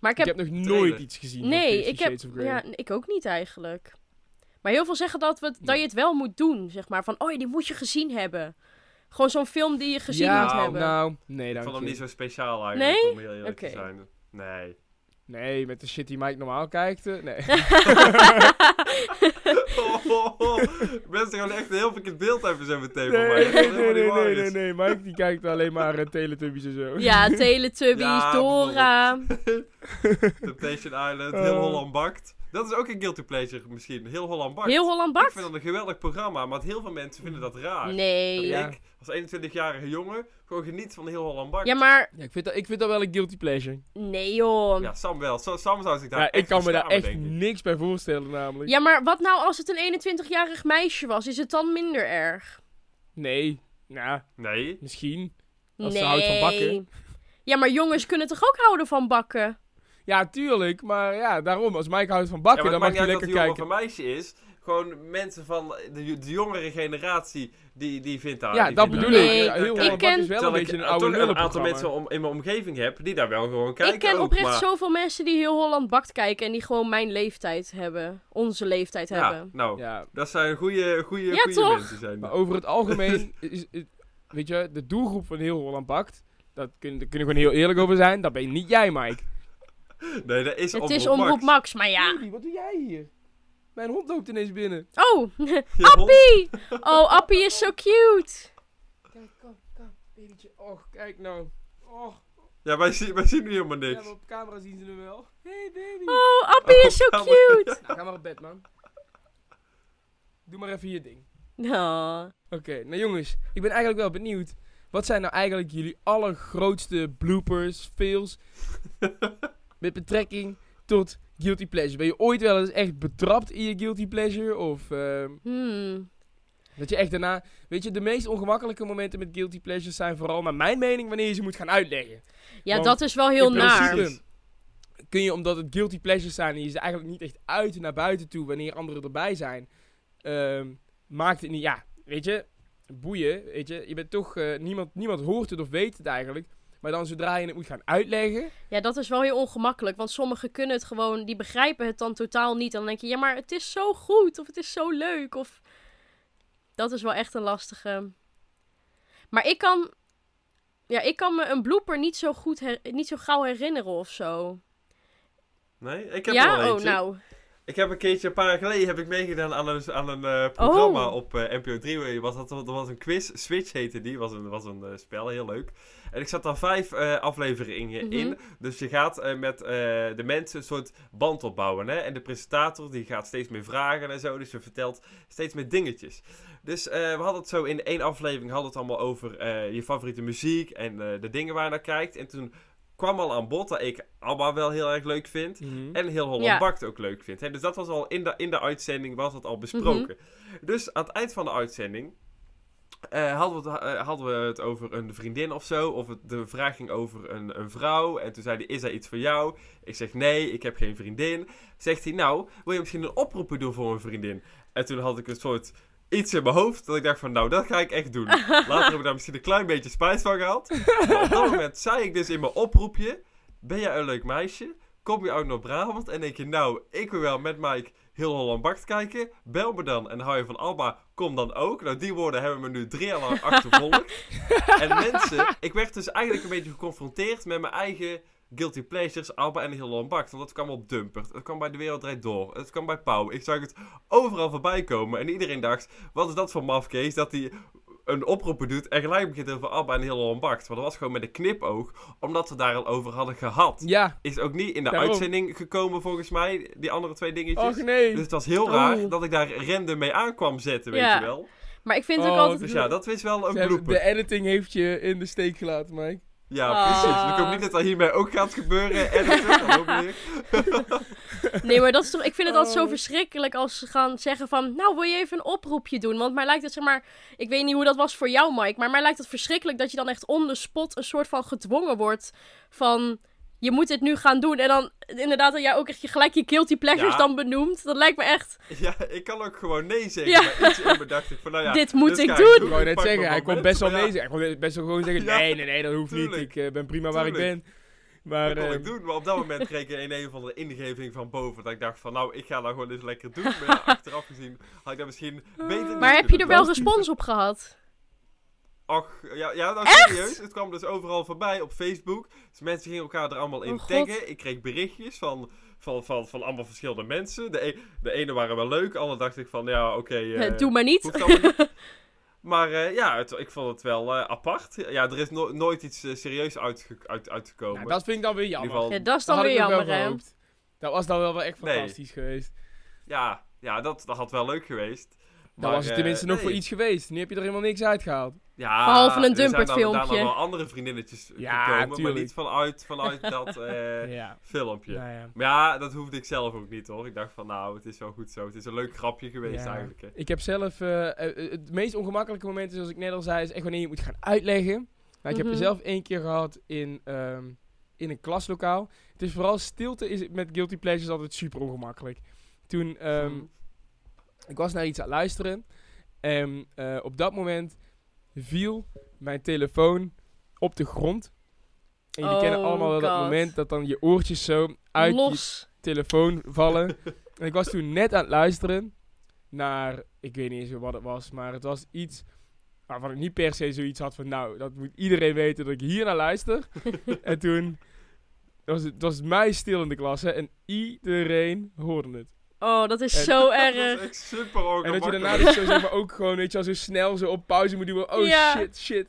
Speaker 4: Maar ik
Speaker 2: Ik
Speaker 4: heb
Speaker 2: heb nog nooit
Speaker 3: Trailer.
Speaker 2: iets gezien van
Speaker 4: Nee,
Speaker 2: Fifty
Speaker 4: ik heb.
Speaker 2: Shades of Grey.
Speaker 4: Ja, ik ook niet eigenlijk. Maar heel veel zeggen dat, we, het- dat je het wel moet doen, zeg maar. Van, oh ja, die moet je gezien hebben. Gewoon zo'n film die je gezien
Speaker 2: ja,
Speaker 4: moet
Speaker 2: nou,
Speaker 4: hebben.
Speaker 2: Nou, nee,
Speaker 3: Ik
Speaker 2: dank
Speaker 3: vond hem
Speaker 2: je.
Speaker 3: niet zo speciaal eigenlijk,
Speaker 4: Nee?
Speaker 3: om heel eerlijk te
Speaker 4: Oké.
Speaker 3: zijn. Nee. (laughs)
Speaker 2: Nee, met de shit die Mike normaal kijkt. eh, Nee.
Speaker 3: Oh, oh, oh. Mensen gaan echt een heel verkeerd beeld hebben zo meteen van mij.
Speaker 2: nee,
Speaker 3: Dat is
Speaker 2: nee, nee,
Speaker 3: helemaal niet
Speaker 2: nee,
Speaker 3: waar Dus
Speaker 2: nee,
Speaker 3: is.
Speaker 2: nee. Mike die kijkt alleen maar eh, Teletubbies en zo.
Speaker 4: Ja, Teletubbies,
Speaker 2: (laughs)
Speaker 3: Ja,
Speaker 4: Dora.
Speaker 3: Temptation Island,
Speaker 2: Eh.
Speaker 3: Heel Holland Bakt. Dat is ook een guilty pleasure misschien. Heel Holland Bakt.
Speaker 4: Heel Holland
Speaker 3: Ik
Speaker 4: Bakt.
Speaker 3: vind dat een geweldig programma, maar heel veel mensen vinden dat raar.
Speaker 4: Nee.
Speaker 2: Ja.
Speaker 3: Ik, als 21-jarige jongen, gewoon geniet van Heel Holland Bakt.
Speaker 4: Ja, maar
Speaker 2: Ja, ik, vind dat, ik vind dat wel een guilty pleasure.
Speaker 4: nee joh. Ja.
Speaker 3: Ja, Sam wel. Sa- Sam zou zich daar
Speaker 2: Ja, ik
Speaker 3: echt
Speaker 2: kan me
Speaker 3: voor
Speaker 2: daar
Speaker 3: schamen,
Speaker 2: echt
Speaker 3: denk ik.
Speaker 2: niks bij voorstellen namelijk.
Speaker 4: maar wat nou als het een 21-jarig meisje was? Is het dan minder erg?
Speaker 2: Nee, nou,
Speaker 3: Nee.
Speaker 2: misschien.
Speaker 4: Nee.
Speaker 2: Als ze houdt van bakken.
Speaker 4: Ja, maar jongens kunnen toch ook houden van bakken?
Speaker 2: Ja, tuurlijk. Maar ja, daarom. Als Mike houdt van
Speaker 3: Ja,
Speaker 2: bakken,
Speaker 3: maar
Speaker 2: dan mag
Speaker 3: het maakt
Speaker 2: je
Speaker 3: niet uit dat
Speaker 2: lekker
Speaker 3: hij jongen of
Speaker 2: kijken.
Speaker 3: een meisje is. Gewoon mensen van de, de jongere generatie, die, die vindt daar
Speaker 2: ja,
Speaker 3: die
Speaker 2: dat
Speaker 3: vindt
Speaker 2: bedoel
Speaker 3: daar-
Speaker 2: ik.
Speaker 4: Nee,
Speaker 2: Ja, heel
Speaker 3: ik
Speaker 2: Holland Bak
Speaker 4: ken-
Speaker 2: is wel een
Speaker 3: Terwijl
Speaker 2: beetje
Speaker 3: ik eh,
Speaker 2: een
Speaker 3: toch
Speaker 2: oude
Speaker 3: een aantal
Speaker 2: lullenprogramma.
Speaker 3: mensen om, in mijn omgeving heb die daar wel gewoon kijken
Speaker 4: ik ken
Speaker 3: ook,
Speaker 4: oprecht
Speaker 3: maar-
Speaker 4: zoveel mensen die heel Holland Bakt kijken en die gewoon mijn leeftijd hebben. Onze leeftijd
Speaker 3: Ja,
Speaker 4: hebben.
Speaker 3: nou,
Speaker 2: Ja,
Speaker 3: dat zijn goede, goede,
Speaker 4: Ja,
Speaker 3: goede
Speaker 4: toch?
Speaker 3: mensen zijn.
Speaker 2: maar
Speaker 3: dat.
Speaker 2: over het algemeen (laughs) is, is- weet je, de doelgroep van heel Holland Bakt, dat kun, daar kunnen we gewoon heel eerlijk over zijn, dat ben je niet jij, Mike.
Speaker 3: Nee, dat is
Speaker 4: Het
Speaker 3: omroep
Speaker 4: is Omroep
Speaker 3: Max.
Speaker 4: Max, maar
Speaker 2: (laughs)
Speaker 4: ja.
Speaker 2: Judy, wat doe jij hier? Mijn hond loopt ineens binnen.
Speaker 4: Oh, (laughs)
Speaker 3: Je hond-
Speaker 4: Appie! Oh, Appie is zo cute.
Speaker 2: Kijk, kom, kom, babytje. Och, kijk nou. Och,
Speaker 3: Ja, wij, zien- wij zien nu helemaal
Speaker 2: ja,
Speaker 3: niks.
Speaker 2: maar op camera zien ze hem wel. Hey baby.
Speaker 4: Oh, Appie is zo
Speaker 3: Oh, Appie.
Speaker 2: (laughs)
Speaker 4: cute.
Speaker 2: Nou, ga maar op bed, man. Doe maar even je ding.
Speaker 4: Oh.
Speaker 2: Oké, nou jongens, ik ben eigenlijk wel benieuwd. Wat zijn nou eigenlijk jullie allergrootste bloopers, fails, met betrekking tot guilty pleasure? Ben je ooit wel eens echt betrapt in je guilty pleasure? Of ehm,
Speaker 4: Hmm.
Speaker 2: dat je echt daarna... Weet je, de meest ongemakkelijke momenten met guilty pleasures zijn vooral, naar mijn mening, wanneer je ze moet gaan uitleggen.
Speaker 4: Ja,
Speaker 2: Want
Speaker 4: dat is wel heel
Speaker 2: in
Speaker 4: naar.
Speaker 2: principe Kun je, omdat het guilty pleasures zijn en je ze eigenlijk niet echt uit naar buiten toe wanneer anderen erbij zijn, ehm, maakt het niet. Ja, weet je, boeien, weet je, je bent toch, eh, niemand, niemand hoort het of weet het eigenlijk. Maar dan zodra je het moet gaan uitleggen.
Speaker 4: Ja, dat is wel heel ongemakkelijk. Want sommigen kunnen het gewoon, die begrijpen het dan totaal niet. En dan denk je, ja, maar het is zo goed. Of het is zo leuk. Of... Dat is wel echt een lastige. Maar ik kan. Ja, ik kan me een blooper niet zo goed, her- niet zo gauw herinneren of zo.
Speaker 3: Nee, ik heb er
Speaker 4: ja,
Speaker 3: wel
Speaker 4: oh,
Speaker 3: eentje.
Speaker 4: nou.
Speaker 3: Ik heb een keertje, een paar jaar geleden, heb ik meegedaan aan een, aan een eh, programma op eh, NPO 3. Was dat, dat was een quiz, Switch heette die, was een, was een eh, spel, heel leuk. En ik zat daar vijf eh, afleveringen
Speaker 4: Mhm.
Speaker 3: in. Dus je gaat eh, met eh, de mensen een soort band opbouwen. Hè? En de presentator die gaat steeds meer vragen en zo, dus je vertelt steeds meer dingetjes. Dus eh, we hadden het zo in één aflevering, hadden we het allemaal over eh, je favoriete muziek en eh, de dingen waar je naar kijkt. En toen kwam al aan bod dat ik ABBA wel heel erg leuk vind. En heel Holland
Speaker 4: Ja.
Speaker 3: Bakt ook leuk vindt. Hè? Dus dat was al in de, in de uitzending was dat al besproken. Dus aan het eind van de uitzending eh, hadden, we het, eh, hadden we het over een vriendin of zo. Of het, de vraag ging over een, een vrouw. En toen zei hij, is er iets voor jou? Ik zeg, nee, ik heb geen vriendin. Zegt hij, nou, wil je misschien een oproepen doen voor een vriendin? En toen had ik een soort iets in mijn hoofd. Dat ik dacht van, nou, dat ga ik echt doen. Later heb ik daar misschien een klein beetje spijt van gehad. Maar op dat moment zei ik dus in mijn oproepje... Ben jij een leuk meisje? Kom je uit naar Brabant en denk je... Nou, ik wil wel met Mike heel Holland Bakt kijken. Bel me dan en hou je van Alba. Kom dan ook. Nou, die woorden hebben me nu drie jaar lang achtervolgd. en mensen, ik werd dus eigenlijk een beetje geconfronteerd met mijn eigen... Guilty Pleasures, Alba en heel Holland Bakt. Want dat kwam op Dumpert. Het kwam bij De Wereld Draait Door. Het kwam bij Pauw. Ik zag het overal voorbij komen. En iedereen dacht, wat is dat voor mafkees? Dat hij een oproepen doet en gelijk begint over Abba en heel Holland Bakt. Maar dat was gewoon met een knipoog, omdat we daar al over hadden gehad.
Speaker 2: Ja.
Speaker 3: Is ook niet in de
Speaker 2: Daarom. Oh,
Speaker 3: uitzending gekomen volgens mij, die andere twee dingetjes.
Speaker 2: Och nee.
Speaker 3: Dus het was heel raar
Speaker 4: Oh.
Speaker 3: dat ik daar random mee aankwam zetten, weet
Speaker 4: Ja.
Speaker 3: je wel.
Speaker 4: Maar ik vind
Speaker 2: Oh,
Speaker 4: ook altijd.
Speaker 3: Dus ja, dat is wel
Speaker 2: Ze
Speaker 3: een
Speaker 2: hebben-
Speaker 3: blooper.
Speaker 2: de editing heeft je in de steek gelaten, Mike.
Speaker 3: Ja,
Speaker 4: Ah.
Speaker 3: precies. Ik hoop niet dat dat hiermee ook gaat gebeuren.
Speaker 4: (laughs)
Speaker 3: En dat is dan ook weer.
Speaker 4: Nee, maar dat is toch. Ik vind het altijd zo
Speaker 2: Oh.
Speaker 4: verschrikkelijk als ze gaan zeggen van. Nou, wil je even een oproepje doen? Want mij lijkt het, zeg maar. Ik weet niet hoe dat was voor jou, Mike. Maar mij lijkt het verschrikkelijk dat je dan echt on the spot een soort van gedwongen wordt. Van. Je moet dit nu gaan doen. En dan inderdaad dat jij ook echt je, gelijk je guilty pleasures
Speaker 3: Ja.
Speaker 4: dan benoemt. Dat lijkt me echt.
Speaker 3: Ja, ik kan ook gewoon nee zeggen.
Speaker 4: Ja.
Speaker 3: Maar iets in me dacht ik van, nou ja,
Speaker 4: Dit moet ik
Speaker 3: ga
Speaker 4: doen.
Speaker 2: Ik wou net
Speaker 3: pak
Speaker 2: zeggen,
Speaker 3: mijn
Speaker 2: hij kon
Speaker 3: moment,
Speaker 2: best wel
Speaker 3: maar ja,
Speaker 2: nee zeggen. Hij kon best wel gewoon zeggen,
Speaker 3: Ja,
Speaker 2: nee, nee, nee, dat hoeft niet.
Speaker 3: tuurlijk.
Speaker 2: Ik eh, ben prima waar ik
Speaker 3: Tuurlijk.
Speaker 2: ben. Maar,
Speaker 3: dat kon
Speaker 2: eh,
Speaker 3: ik doen, maar op dat moment kreeg ik een een of andere ingeving van boven. Dat ik dacht van, nou, ik ga dat gewoon eens lekker doen. Maar
Speaker 4: (laughs)
Speaker 3: ja, achteraf gezien had ik dat misschien beter niet
Speaker 4: Maar heb je er
Speaker 3: kunnen
Speaker 4: wel
Speaker 3: doen.
Speaker 4: respons op gehad?
Speaker 3: Ach, ja, ja nou serieus. Het kwam dus overal voorbij op Facebook. Dus mensen gingen elkaar er allemaal in
Speaker 4: Oh, God.
Speaker 3: taggen. Ik kreeg berichtjes van, van, van, van allemaal verschillende mensen. De, e- de ene waren wel leuk, de andere dacht ik van, ja, oké. eh,
Speaker 4: Eh, (laughs) Doe maar niet.
Speaker 3: Hoeft
Speaker 4: (laughs)
Speaker 3: allemaal niet. Maar eh, ja, het- ik vond het wel eh, apart. Ja, er is no- nooit iets eh, serieus uitge uit uitgekomen.
Speaker 2: nou, dat vind ik dan weer jammer.
Speaker 3: geval-
Speaker 4: Ja, dat is dan
Speaker 2: Dat had
Speaker 4: weer
Speaker 2: ik nog
Speaker 4: jammer,
Speaker 2: wel
Speaker 4: hè?
Speaker 2: gehoopt. Dat was dan wel wel echt
Speaker 3: Nee.
Speaker 2: fantastisch geweest.
Speaker 3: Ja, ja dat, dat had wel leuk geweest.
Speaker 2: Dan was het
Speaker 3: eh,
Speaker 2: tenminste nog
Speaker 3: nee.
Speaker 2: voor iets geweest. Nu heb je er helemaal niks uitgehaald.
Speaker 3: Ja,
Speaker 4: Behalve een
Speaker 3: er zijn
Speaker 4: Dumpert
Speaker 3: dan daarna
Speaker 4: filmpje.
Speaker 3: wel andere vriendinnetjes
Speaker 2: Ja,
Speaker 3: gekomen,
Speaker 2: tuurlijk.
Speaker 3: maar niet vanuit, vanuit
Speaker 4: (laughs)
Speaker 3: dat eh,
Speaker 2: ja.
Speaker 3: filmpje.
Speaker 2: Nou ja.
Speaker 3: Maar ja, dat hoefde ik zelf ook niet hoor. Ik dacht van nou, het is wel goed zo. Het is een leuk grapje geweest
Speaker 2: Ja.
Speaker 3: eigenlijk. hè.
Speaker 2: Ik heb zelf... eh, eh, het meest ongemakkelijke moment, is, zoals ik net al zei, is echt wanneer je moet gaan uitleggen. Nou, ik heb
Speaker 4: Mhm.
Speaker 2: er zelf één keer gehad in, ehm, in een klaslokaal. Het
Speaker 4: Mhm.
Speaker 2: is vooral stilte is het met Guilty Pleasures altijd super ongemakkelijk. Toen... ehm, Ik was naar iets aan het luisteren. En eh, op dat moment viel mijn telefoon op de grond. En jullie
Speaker 4: Oh,
Speaker 2: kennen allemaal wel dat
Speaker 4: God.
Speaker 2: moment dat dan je oortjes zo uit je
Speaker 4: Los.
Speaker 2: telefoon vallen. en ik was toen net aan het luisteren naar, ik weet niet eens meer wat het was, maar het was iets waarvan ik niet per se zoiets had van, nou, dat moet iedereen weten dat ik hier naar luister. en toen was het, het was mij stil in de klas hè, en iedereen hoorde het.
Speaker 4: Oh, dat is
Speaker 2: En-
Speaker 4: zo
Speaker 2: (laughs)
Speaker 3: Dat is
Speaker 4: erg.
Speaker 3: echt super
Speaker 2: En dat je
Speaker 3: ongemakkelijk.
Speaker 2: daarna dus zo, zeg maar, ook gewoon, weet je wel, zo snel zo op pauze moet doen. Oh
Speaker 4: Ja.
Speaker 2: shit, shit.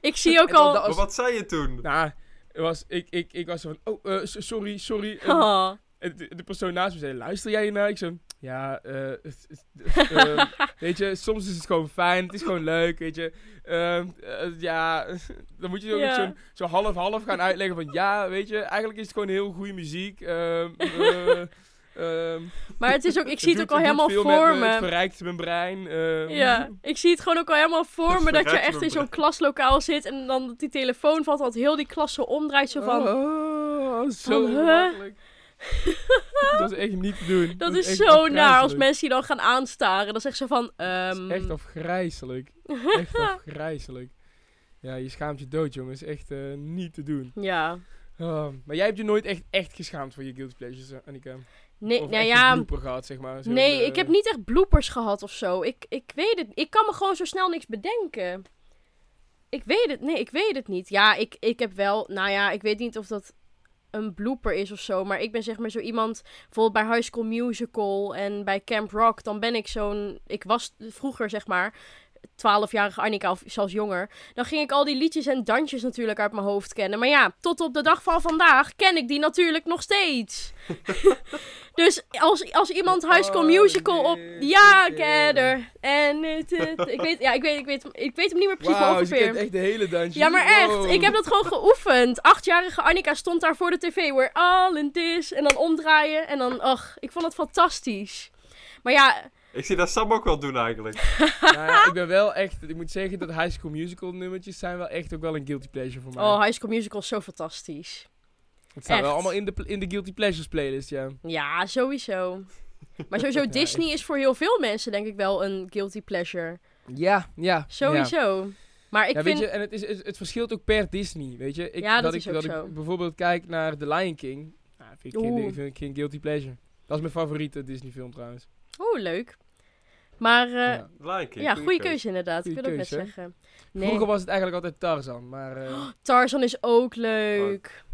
Speaker 4: Ik zie ook
Speaker 2: En dan-
Speaker 4: al...
Speaker 2: dat
Speaker 3: Maar
Speaker 2: was-
Speaker 3: wat zei je toen?
Speaker 2: Nou, het was, ik, ik, ik was zo van, oh, eh, so- sorry, sorry. En-
Speaker 4: (laughs) Oh.
Speaker 2: En de, de persoon naast me zei, luister jij hiernaar? Ik zo, ja, eh, het- het-
Speaker 4: (laughs)
Speaker 2: het, ehm, weet je, soms is het gewoon fijn, het is gewoon leuk, weet je. Ehm, eh, ja, (laughs) dan moet je ook
Speaker 4: Ja.
Speaker 2: zo'n- zo half-half gaan uitleggen van, ja, weet je, eigenlijk is het gewoon heel goede muziek. ehm,
Speaker 4: (laughs)
Speaker 2: eh, ehm,
Speaker 4: Maar het is ook... Ik zie het ook
Speaker 2: doet-
Speaker 4: al helemaal
Speaker 2: doet veel met
Speaker 4: voor
Speaker 2: me, Het
Speaker 4: me.
Speaker 2: verrijkt mijn brein. ehm.
Speaker 4: Ja, ik zie het gewoon ook al helemaal voor me dat je
Speaker 3: verrijkt
Speaker 4: echt
Speaker 3: me,
Speaker 4: in zo'n
Speaker 3: Brett.
Speaker 4: klaslokaal zit en dan dat die telefoon valt, dat heel die klas zo omdraait, zo van...
Speaker 2: Oh, zo
Speaker 4: van, huh? (laughs)
Speaker 2: ongemakkelijk. Dat is echt niet te doen.
Speaker 4: Dat is
Speaker 2: echt
Speaker 4: zo naar als
Speaker 2: afgrijzelijk.
Speaker 4: mensen je dan gaan aanstaren. Dan zegt ze van...
Speaker 2: Het is
Speaker 4: ehm
Speaker 2: echt
Speaker 4: (laughs)
Speaker 2: afgrijzelijk. Echt afgrijzelijk. Ja, je schaamt je dood, jongen. is echt eh, niet te doen.
Speaker 4: Ja.
Speaker 2: Ah, maar jij hebt je nooit echt, echt geschaamd voor je guilty pleasures, eh, Annika?
Speaker 4: Nee,
Speaker 2: of
Speaker 4: nou
Speaker 2: echt
Speaker 4: ja...
Speaker 2: een blooper gehad, zeg maar. zo'n,
Speaker 4: Nee,
Speaker 2: eh,
Speaker 4: ik heb niet (laughs) echt bloepers gehad of zo. Ik, ik weet het. Ik kan me gewoon zo snel niks bedenken. Ik weet het. Nee, ik weet het niet. Ja, ik, ik heb wel. Nou ja, ik weet niet of dat een blooper is of zo. Maar ik ben zeg maar zo iemand. Bijvoorbeeld bij High School Musical en bij Camp Rock. Dan ben ik zo'n. Ik was vroeger zeg maar. 12-jarige Annika of zelfs jonger. Dan ging ik al die liedjes en dansjes natuurlijk uit mijn hoofd kennen. Maar ja, tot op de dag van vandaag ken ik die natuurlijk nog steeds. (laughs) Dus als, als iemand High School
Speaker 2: Oh,
Speaker 4: Musical op...
Speaker 2: dit
Speaker 4: Ja,
Speaker 2: is, eh,
Speaker 4: Gather. En het, het- ik weet, ja, ik weet, ik weet, ik weet hem niet meer precies maar
Speaker 2: Wauw, ze kent
Speaker 4: ongeveer.
Speaker 2: echt de hele dungeon.
Speaker 4: Ja, maar echt.
Speaker 2: Wow.
Speaker 4: Ik heb dat gewoon geoefend. Achtjarige Annika stond daar voor de tv. We're all in this. En dan omdraaien. En dan, ach, ik vond het fantastisch. Maar ja,
Speaker 3: Ik zie dat Sam ook wel doen eigenlijk.
Speaker 2: Nou ja, ik ben wel echt... Ik moet zeggen dat High School Musical nummertjes zijn wel echt ook wel een guilty pleasure voor mij.
Speaker 4: oh, High School Musical is zo fantastisch.
Speaker 2: het staan wel
Speaker 4: echt.
Speaker 2: allemaal in de, pl- in de guilty pleasures playlist, ja.
Speaker 4: Ja, sowieso. Maar
Speaker 2: (laughs)
Speaker 4: sowieso, Disney is voor heel veel mensen denk ik wel een guilty pleasure.
Speaker 2: Ja, ja. ja.
Speaker 4: Sowieso. Maar ik
Speaker 2: ja,
Speaker 4: vind...
Speaker 2: weet je, en het, is, het, het verschilt ook per Disney, weet je. Ik,
Speaker 4: Ja, dat
Speaker 2: ik,
Speaker 4: is ook
Speaker 2: dat
Speaker 4: zo.
Speaker 2: ik bijvoorbeeld kijk naar The Lion King. Nou, vind ik,
Speaker 4: Oeh.
Speaker 2: geen, vind ik geen guilty pleasure. Dat is mijn favoriete Disney film trouwens.
Speaker 4: Oeh, leuk. Maar eh,
Speaker 2: Ja.
Speaker 3: Like
Speaker 4: ja, goede keuze inderdaad.
Speaker 2: Goeie
Speaker 4: ik wil ook net
Speaker 2: keuze, hè?
Speaker 4: zeggen. Nee,
Speaker 2: Vroeger was het eigenlijk altijd Tarzan, maar... eh,
Speaker 4: Tarzan is ook leuk.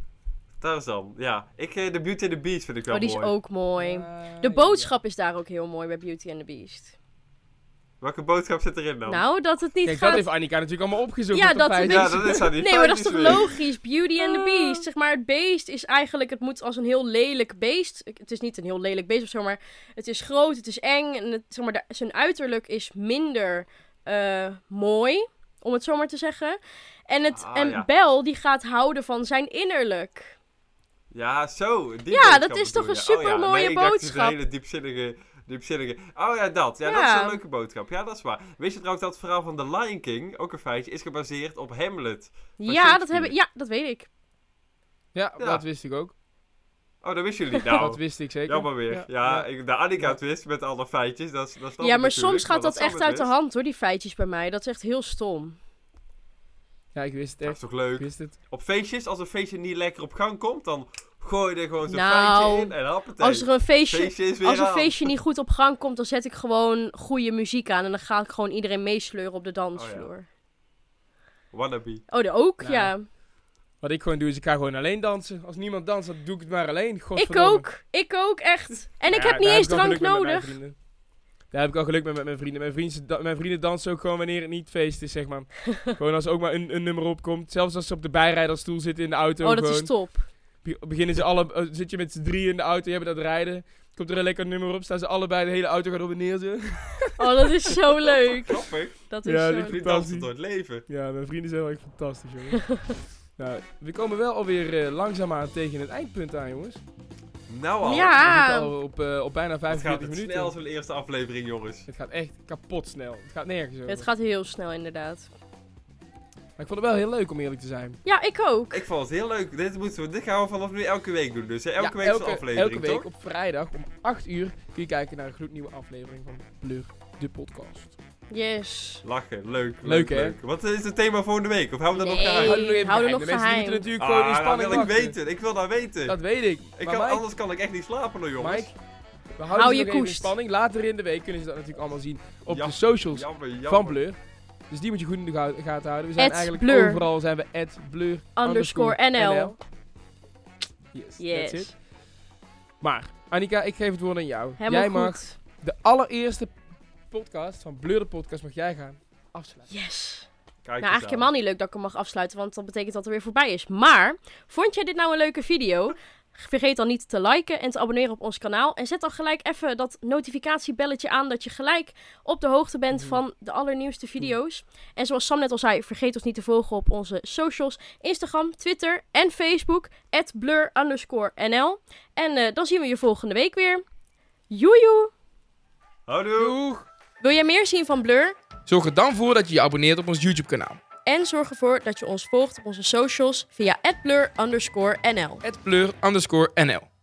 Speaker 3: Tarzan, ja. Ik, eh, de Beauty and the Beast vind ik wel
Speaker 4: oh, die is
Speaker 3: mooi.
Speaker 4: ook (gasps) mooi.
Speaker 2: ah,
Speaker 4: De
Speaker 2: ja.
Speaker 4: boodschap is daar ook heel mooi bij Beauty and the Beast.
Speaker 3: Welke boodschap zit erin dan?
Speaker 4: Nou, dat het niet
Speaker 2: Kijk, dat
Speaker 4: gaat...
Speaker 2: heeft Annika natuurlijk allemaal opgezocht.
Speaker 4: Ja,
Speaker 2: op de
Speaker 4: dat
Speaker 2: feiten.
Speaker 4: weet
Speaker 3: ja, dat is aan
Speaker 4: (laughs)
Speaker 3: die
Speaker 4: Nee, maar dat is toch
Speaker 3: feitjes weer. Ah.
Speaker 4: logisch? Beauty and the Beast. Zeg maar, het beest is eigenlijk... Het moet als een heel lelijk beest... Ik- Het is niet een heel lelijk beest of zo, maar... Het is groot, het is eng. En het, zeg maar, de- zijn uiterlijk is minder eh, mooi, om het zo maar te zeggen. En, het,
Speaker 3: Ah,
Speaker 4: en
Speaker 3: ja.
Speaker 4: Bel, die gaat houden van zijn innerlijk.
Speaker 3: Ja, zo. Die
Speaker 4: Ja,
Speaker 3: boodschap
Speaker 4: dat is toch een
Speaker 3: bedoel je. Oh ja,
Speaker 4: supermooie
Speaker 3: nee, ik dacht, het is
Speaker 4: boodschap.
Speaker 3: een hele diepzinnige, diepzinnige... Oh ja, dat. Ja, dat
Speaker 4: Ja.
Speaker 3: is een leuke boodschap. Ja, dat is waar. Wist je trouwens dat het verhaal van The Lion King, ook een feitje, is gebaseerd op Hamlet?
Speaker 4: Ja,
Speaker 3: Shakespeare.
Speaker 4: dat, heb ik, ja, dat weet
Speaker 3: Oh,
Speaker 4: ik.
Speaker 2: Ja,
Speaker 3: Ja.
Speaker 2: dat wist ik ook.
Speaker 3: Oh, dat
Speaker 2: (laughs)
Speaker 3: wisten jullie nou.
Speaker 2: Dat wist ik zeker.
Speaker 3: Jammer weer. Ja, Ik, de Annika het wist met alle feitjes. Dat, is- dat snap
Speaker 4: ja,
Speaker 3: ik
Speaker 4: maar
Speaker 3: natuurlijk,
Speaker 4: soms gaat dat,
Speaker 3: dat
Speaker 4: echt
Speaker 3: Sam
Speaker 4: uit
Speaker 3: het
Speaker 4: de
Speaker 3: wist.
Speaker 4: hand hoor, die feitjes bij mij. Dat is echt heel stom.
Speaker 2: Ja, ik wist het
Speaker 3: Dat
Speaker 2: echt.
Speaker 3: is toch
Speaker 2: Ik
Speaker 3: leuk?
Speaker 2: wist het.
Speaker 3: Op feestjes, als een feestje niet lekker op gang komt, dan gooi je er gewoon zo'n
Speaker 4: Nou,
Speaker 3: feitje in en hoppatee.
Speaker 4: Als er een feestje,
Speaker 3: feestje is weer
Speaker 4: als een
Speaker 3: aan.
Speaker 4: feestje niet goed op gang komt, dan zet ik gewoon goede muziek aan. En dan ga ik gewoon iedereen meesleuren op de dansvloer. Oh,
Speaker 3: Wannabe.
Speaker 4: de ook,
Speaker 2: Nou,
Speaker 4: ja.
Speaker 2: Wat ik gewoon doe, is ik ga gewoon alleen dansen. Als niemand danst, dan doe ik het maar alleen.
Speaker 4: Ik
Speaker 2: Godverdomme.
Speaker 4: ook. Ik ook, echt. En ik
Speaker 2: Ja,
Speaker 4: heb niet
Speaker 2: daar
Speaker 4: eens
Speaker 2: ik al
Speaker 4: drank
Speaker 2: geluk mee met mijn
Speaker 4: nodig.
Speaker 2: vrienden. Daar heb ik al geluk mee met mijn vrienden. Mijn vrienden, da- mijn vrienden dansen ook gewoon wanneer het niet feest is,
Speaker 4: (laughs)
Speaker 2: zeg maar. gewoon als er ook maar een, een nummer opkomt. Zelfs als ze op de bijrijderstoel zitten in de auto.
Speaker 4: Oh, dat
Speaker 2: gewoon,
Speaker 4: is top.
Speaker 2: be- beginnen ze alle, eh, zit je met z'n drieën in de auto, je hebt dat rijden. Komt er een lekker nummer op, staan ze allebei, de hele auto gaat op en neer. zo.
Speaker 4: Oh, dat is
Speaker 2: (laughs)
Speaker 4: zo leuk.
Speaker 3: Grappig.
Speaker 4: Dat is
Speaker 2: Ja,
Speaker 4: zo
Speaker 2: die
Speaker 4: leuk.
Speaker 3: Jullie
Speaker 2: Fantastisch.
Speaker 3: dansen door het leven.
Speaker 2: (laughs) Ja, mijn vrienden zijn wel echt fantastisch,
Speaker 4: (laughs)
Speaker 2: jongen. nou, we komen wel alweer eh, langzaamaan tegen het eindpunt aan, jongens. We
Speaker 3: Nou al.
Speaker 4: Ja.
Speaker 2: zitten al op, eh, op bijna
Speaker 3: Het gaat
Speaker 2: 45
Speaker 3: het
Speaker 2: minuten.
Speaker 3: snel zo'n eerste aflevering, jongens.
Speaker 2: Het gaat echt kapot snel. Het gaat nergens over.
Speaker 4: Het gaat heel snel, inderdaad.
Speaker 2: Maar ik vond het wel heel leuk om eerlijk te zijn.
Speaker 4: Ja, ik ook.
Speaker 3: Ik vond het heel leuk. Dit, moeten we, dit gaan we vanaf nu elke week doen. Dus hè, elke
Speaker 2: Ja,
Speaker 3: week is een aflevering,
Speaker 2: Elke week
Speaker 3: toch?
Speaker 2: op vrijdag om 8 uur kun je kijken naar een gloednieuwe aflevering van Blur, de podcast.
Speaker 4: Yes.
Speaker 3: Lachen, leuk, leuk,
Speaker 2: Leuk, hè?
Speaker 3: leuk. Wat is het thema volgende week? Of houden we dat
Speaker 4: Nee.
Speaker 3: nog geheim?
Speaker 2: Houden we nog even
Speaker 4: hou er
Speaker 2: geheim.
Speaker 4: nog
Speaker 2: De mensen
Speaker 4: geheim.
Speaker 2: moeten natuurlijk
Speaker 3: Ah,
Speaker 2: gewoon in
Speaker 3: dat
Speaker 2: spanning
Speaker 3: wil ik
Speaker 2: wachten.
Speaker 3: weten. Ik wil dat weten.
Speaker 2: Dat weet ik.
Speaker 3: ik
Speaker 2: Maar
Speaker 3: kan,
Speaker 2: Mike-
Speaker 3: anders kan ik echt niet slapen hoor, jongens.
Speaker 2: Mike, we houden
Speaker 4: Hou
Speaker 2: ze
Speaker 4: je
Speaker 2: nog even in
Speaker 4: koest.
Speaker 2: spanning. Later in de week kunnen ze dat natuurlijk allemaal zien op
Speaker 3: Ja.
Speaker 2: de socials
Speaker 3: jammer, jammer.
Speaker 2: van Blur. Dus die moet je goed in de ga- gaten houden. We zijn
Speaker 4: At
Speaker 2: eigenlijk
Speaker 4: Blur.
Speaker 2: overal zijn we at Blur
Speaker 4: Underscore NL.
Speaker 2: Yes, that's it.
Speaker 4: Yes.
Speaker 2: Maar, Annika, ik geef het woord aan jou.
Speaker 4: Helemaal
Speaker 2: jij mag
Speaker 4: goed.
Speaker 2: de allereerste podcast van Blur de podcast mag jij gaan afsluiten.
Speaker 4: Yes.
Speaker 3: Kijk
Speaker 4: Nou,
Speaker 3: eens
Speaker 4: eigenlijk
Speaker 3: aan.
Speaker 4: helemaal niet leuk dat ik hem mag afsluiten, want dat betekent dat het weer voorbij is. Maar, vond jij dit nou een leuke video? Vergeet dan niet te liken en te abonneren op ons kanaal. En zet dan gelijk even dat notificatiebelletje aan, dat je gelijk op de hoogte bent van de allernieuwste video's. En zoals Sam net al zei, vergeet ons niet te volgen op onze socials. Instagram, Twitter en Facebook, at blur underscore nl. En eh, dan zien we je volgende week weer. Joejoe!
Speaker 3: Houdoe.
Speaker 2: Doeg!
Speaker 4: Wil jij meer zien van Blur?
Speaker 2: Zorg er dan voor dat je je abonneert op ons YouTube kanaal.
Speaker 4: En zorg ervoor dat je ons volgt op onze socials via @blur_nl.
Speaker 2: At Blur underscore NL.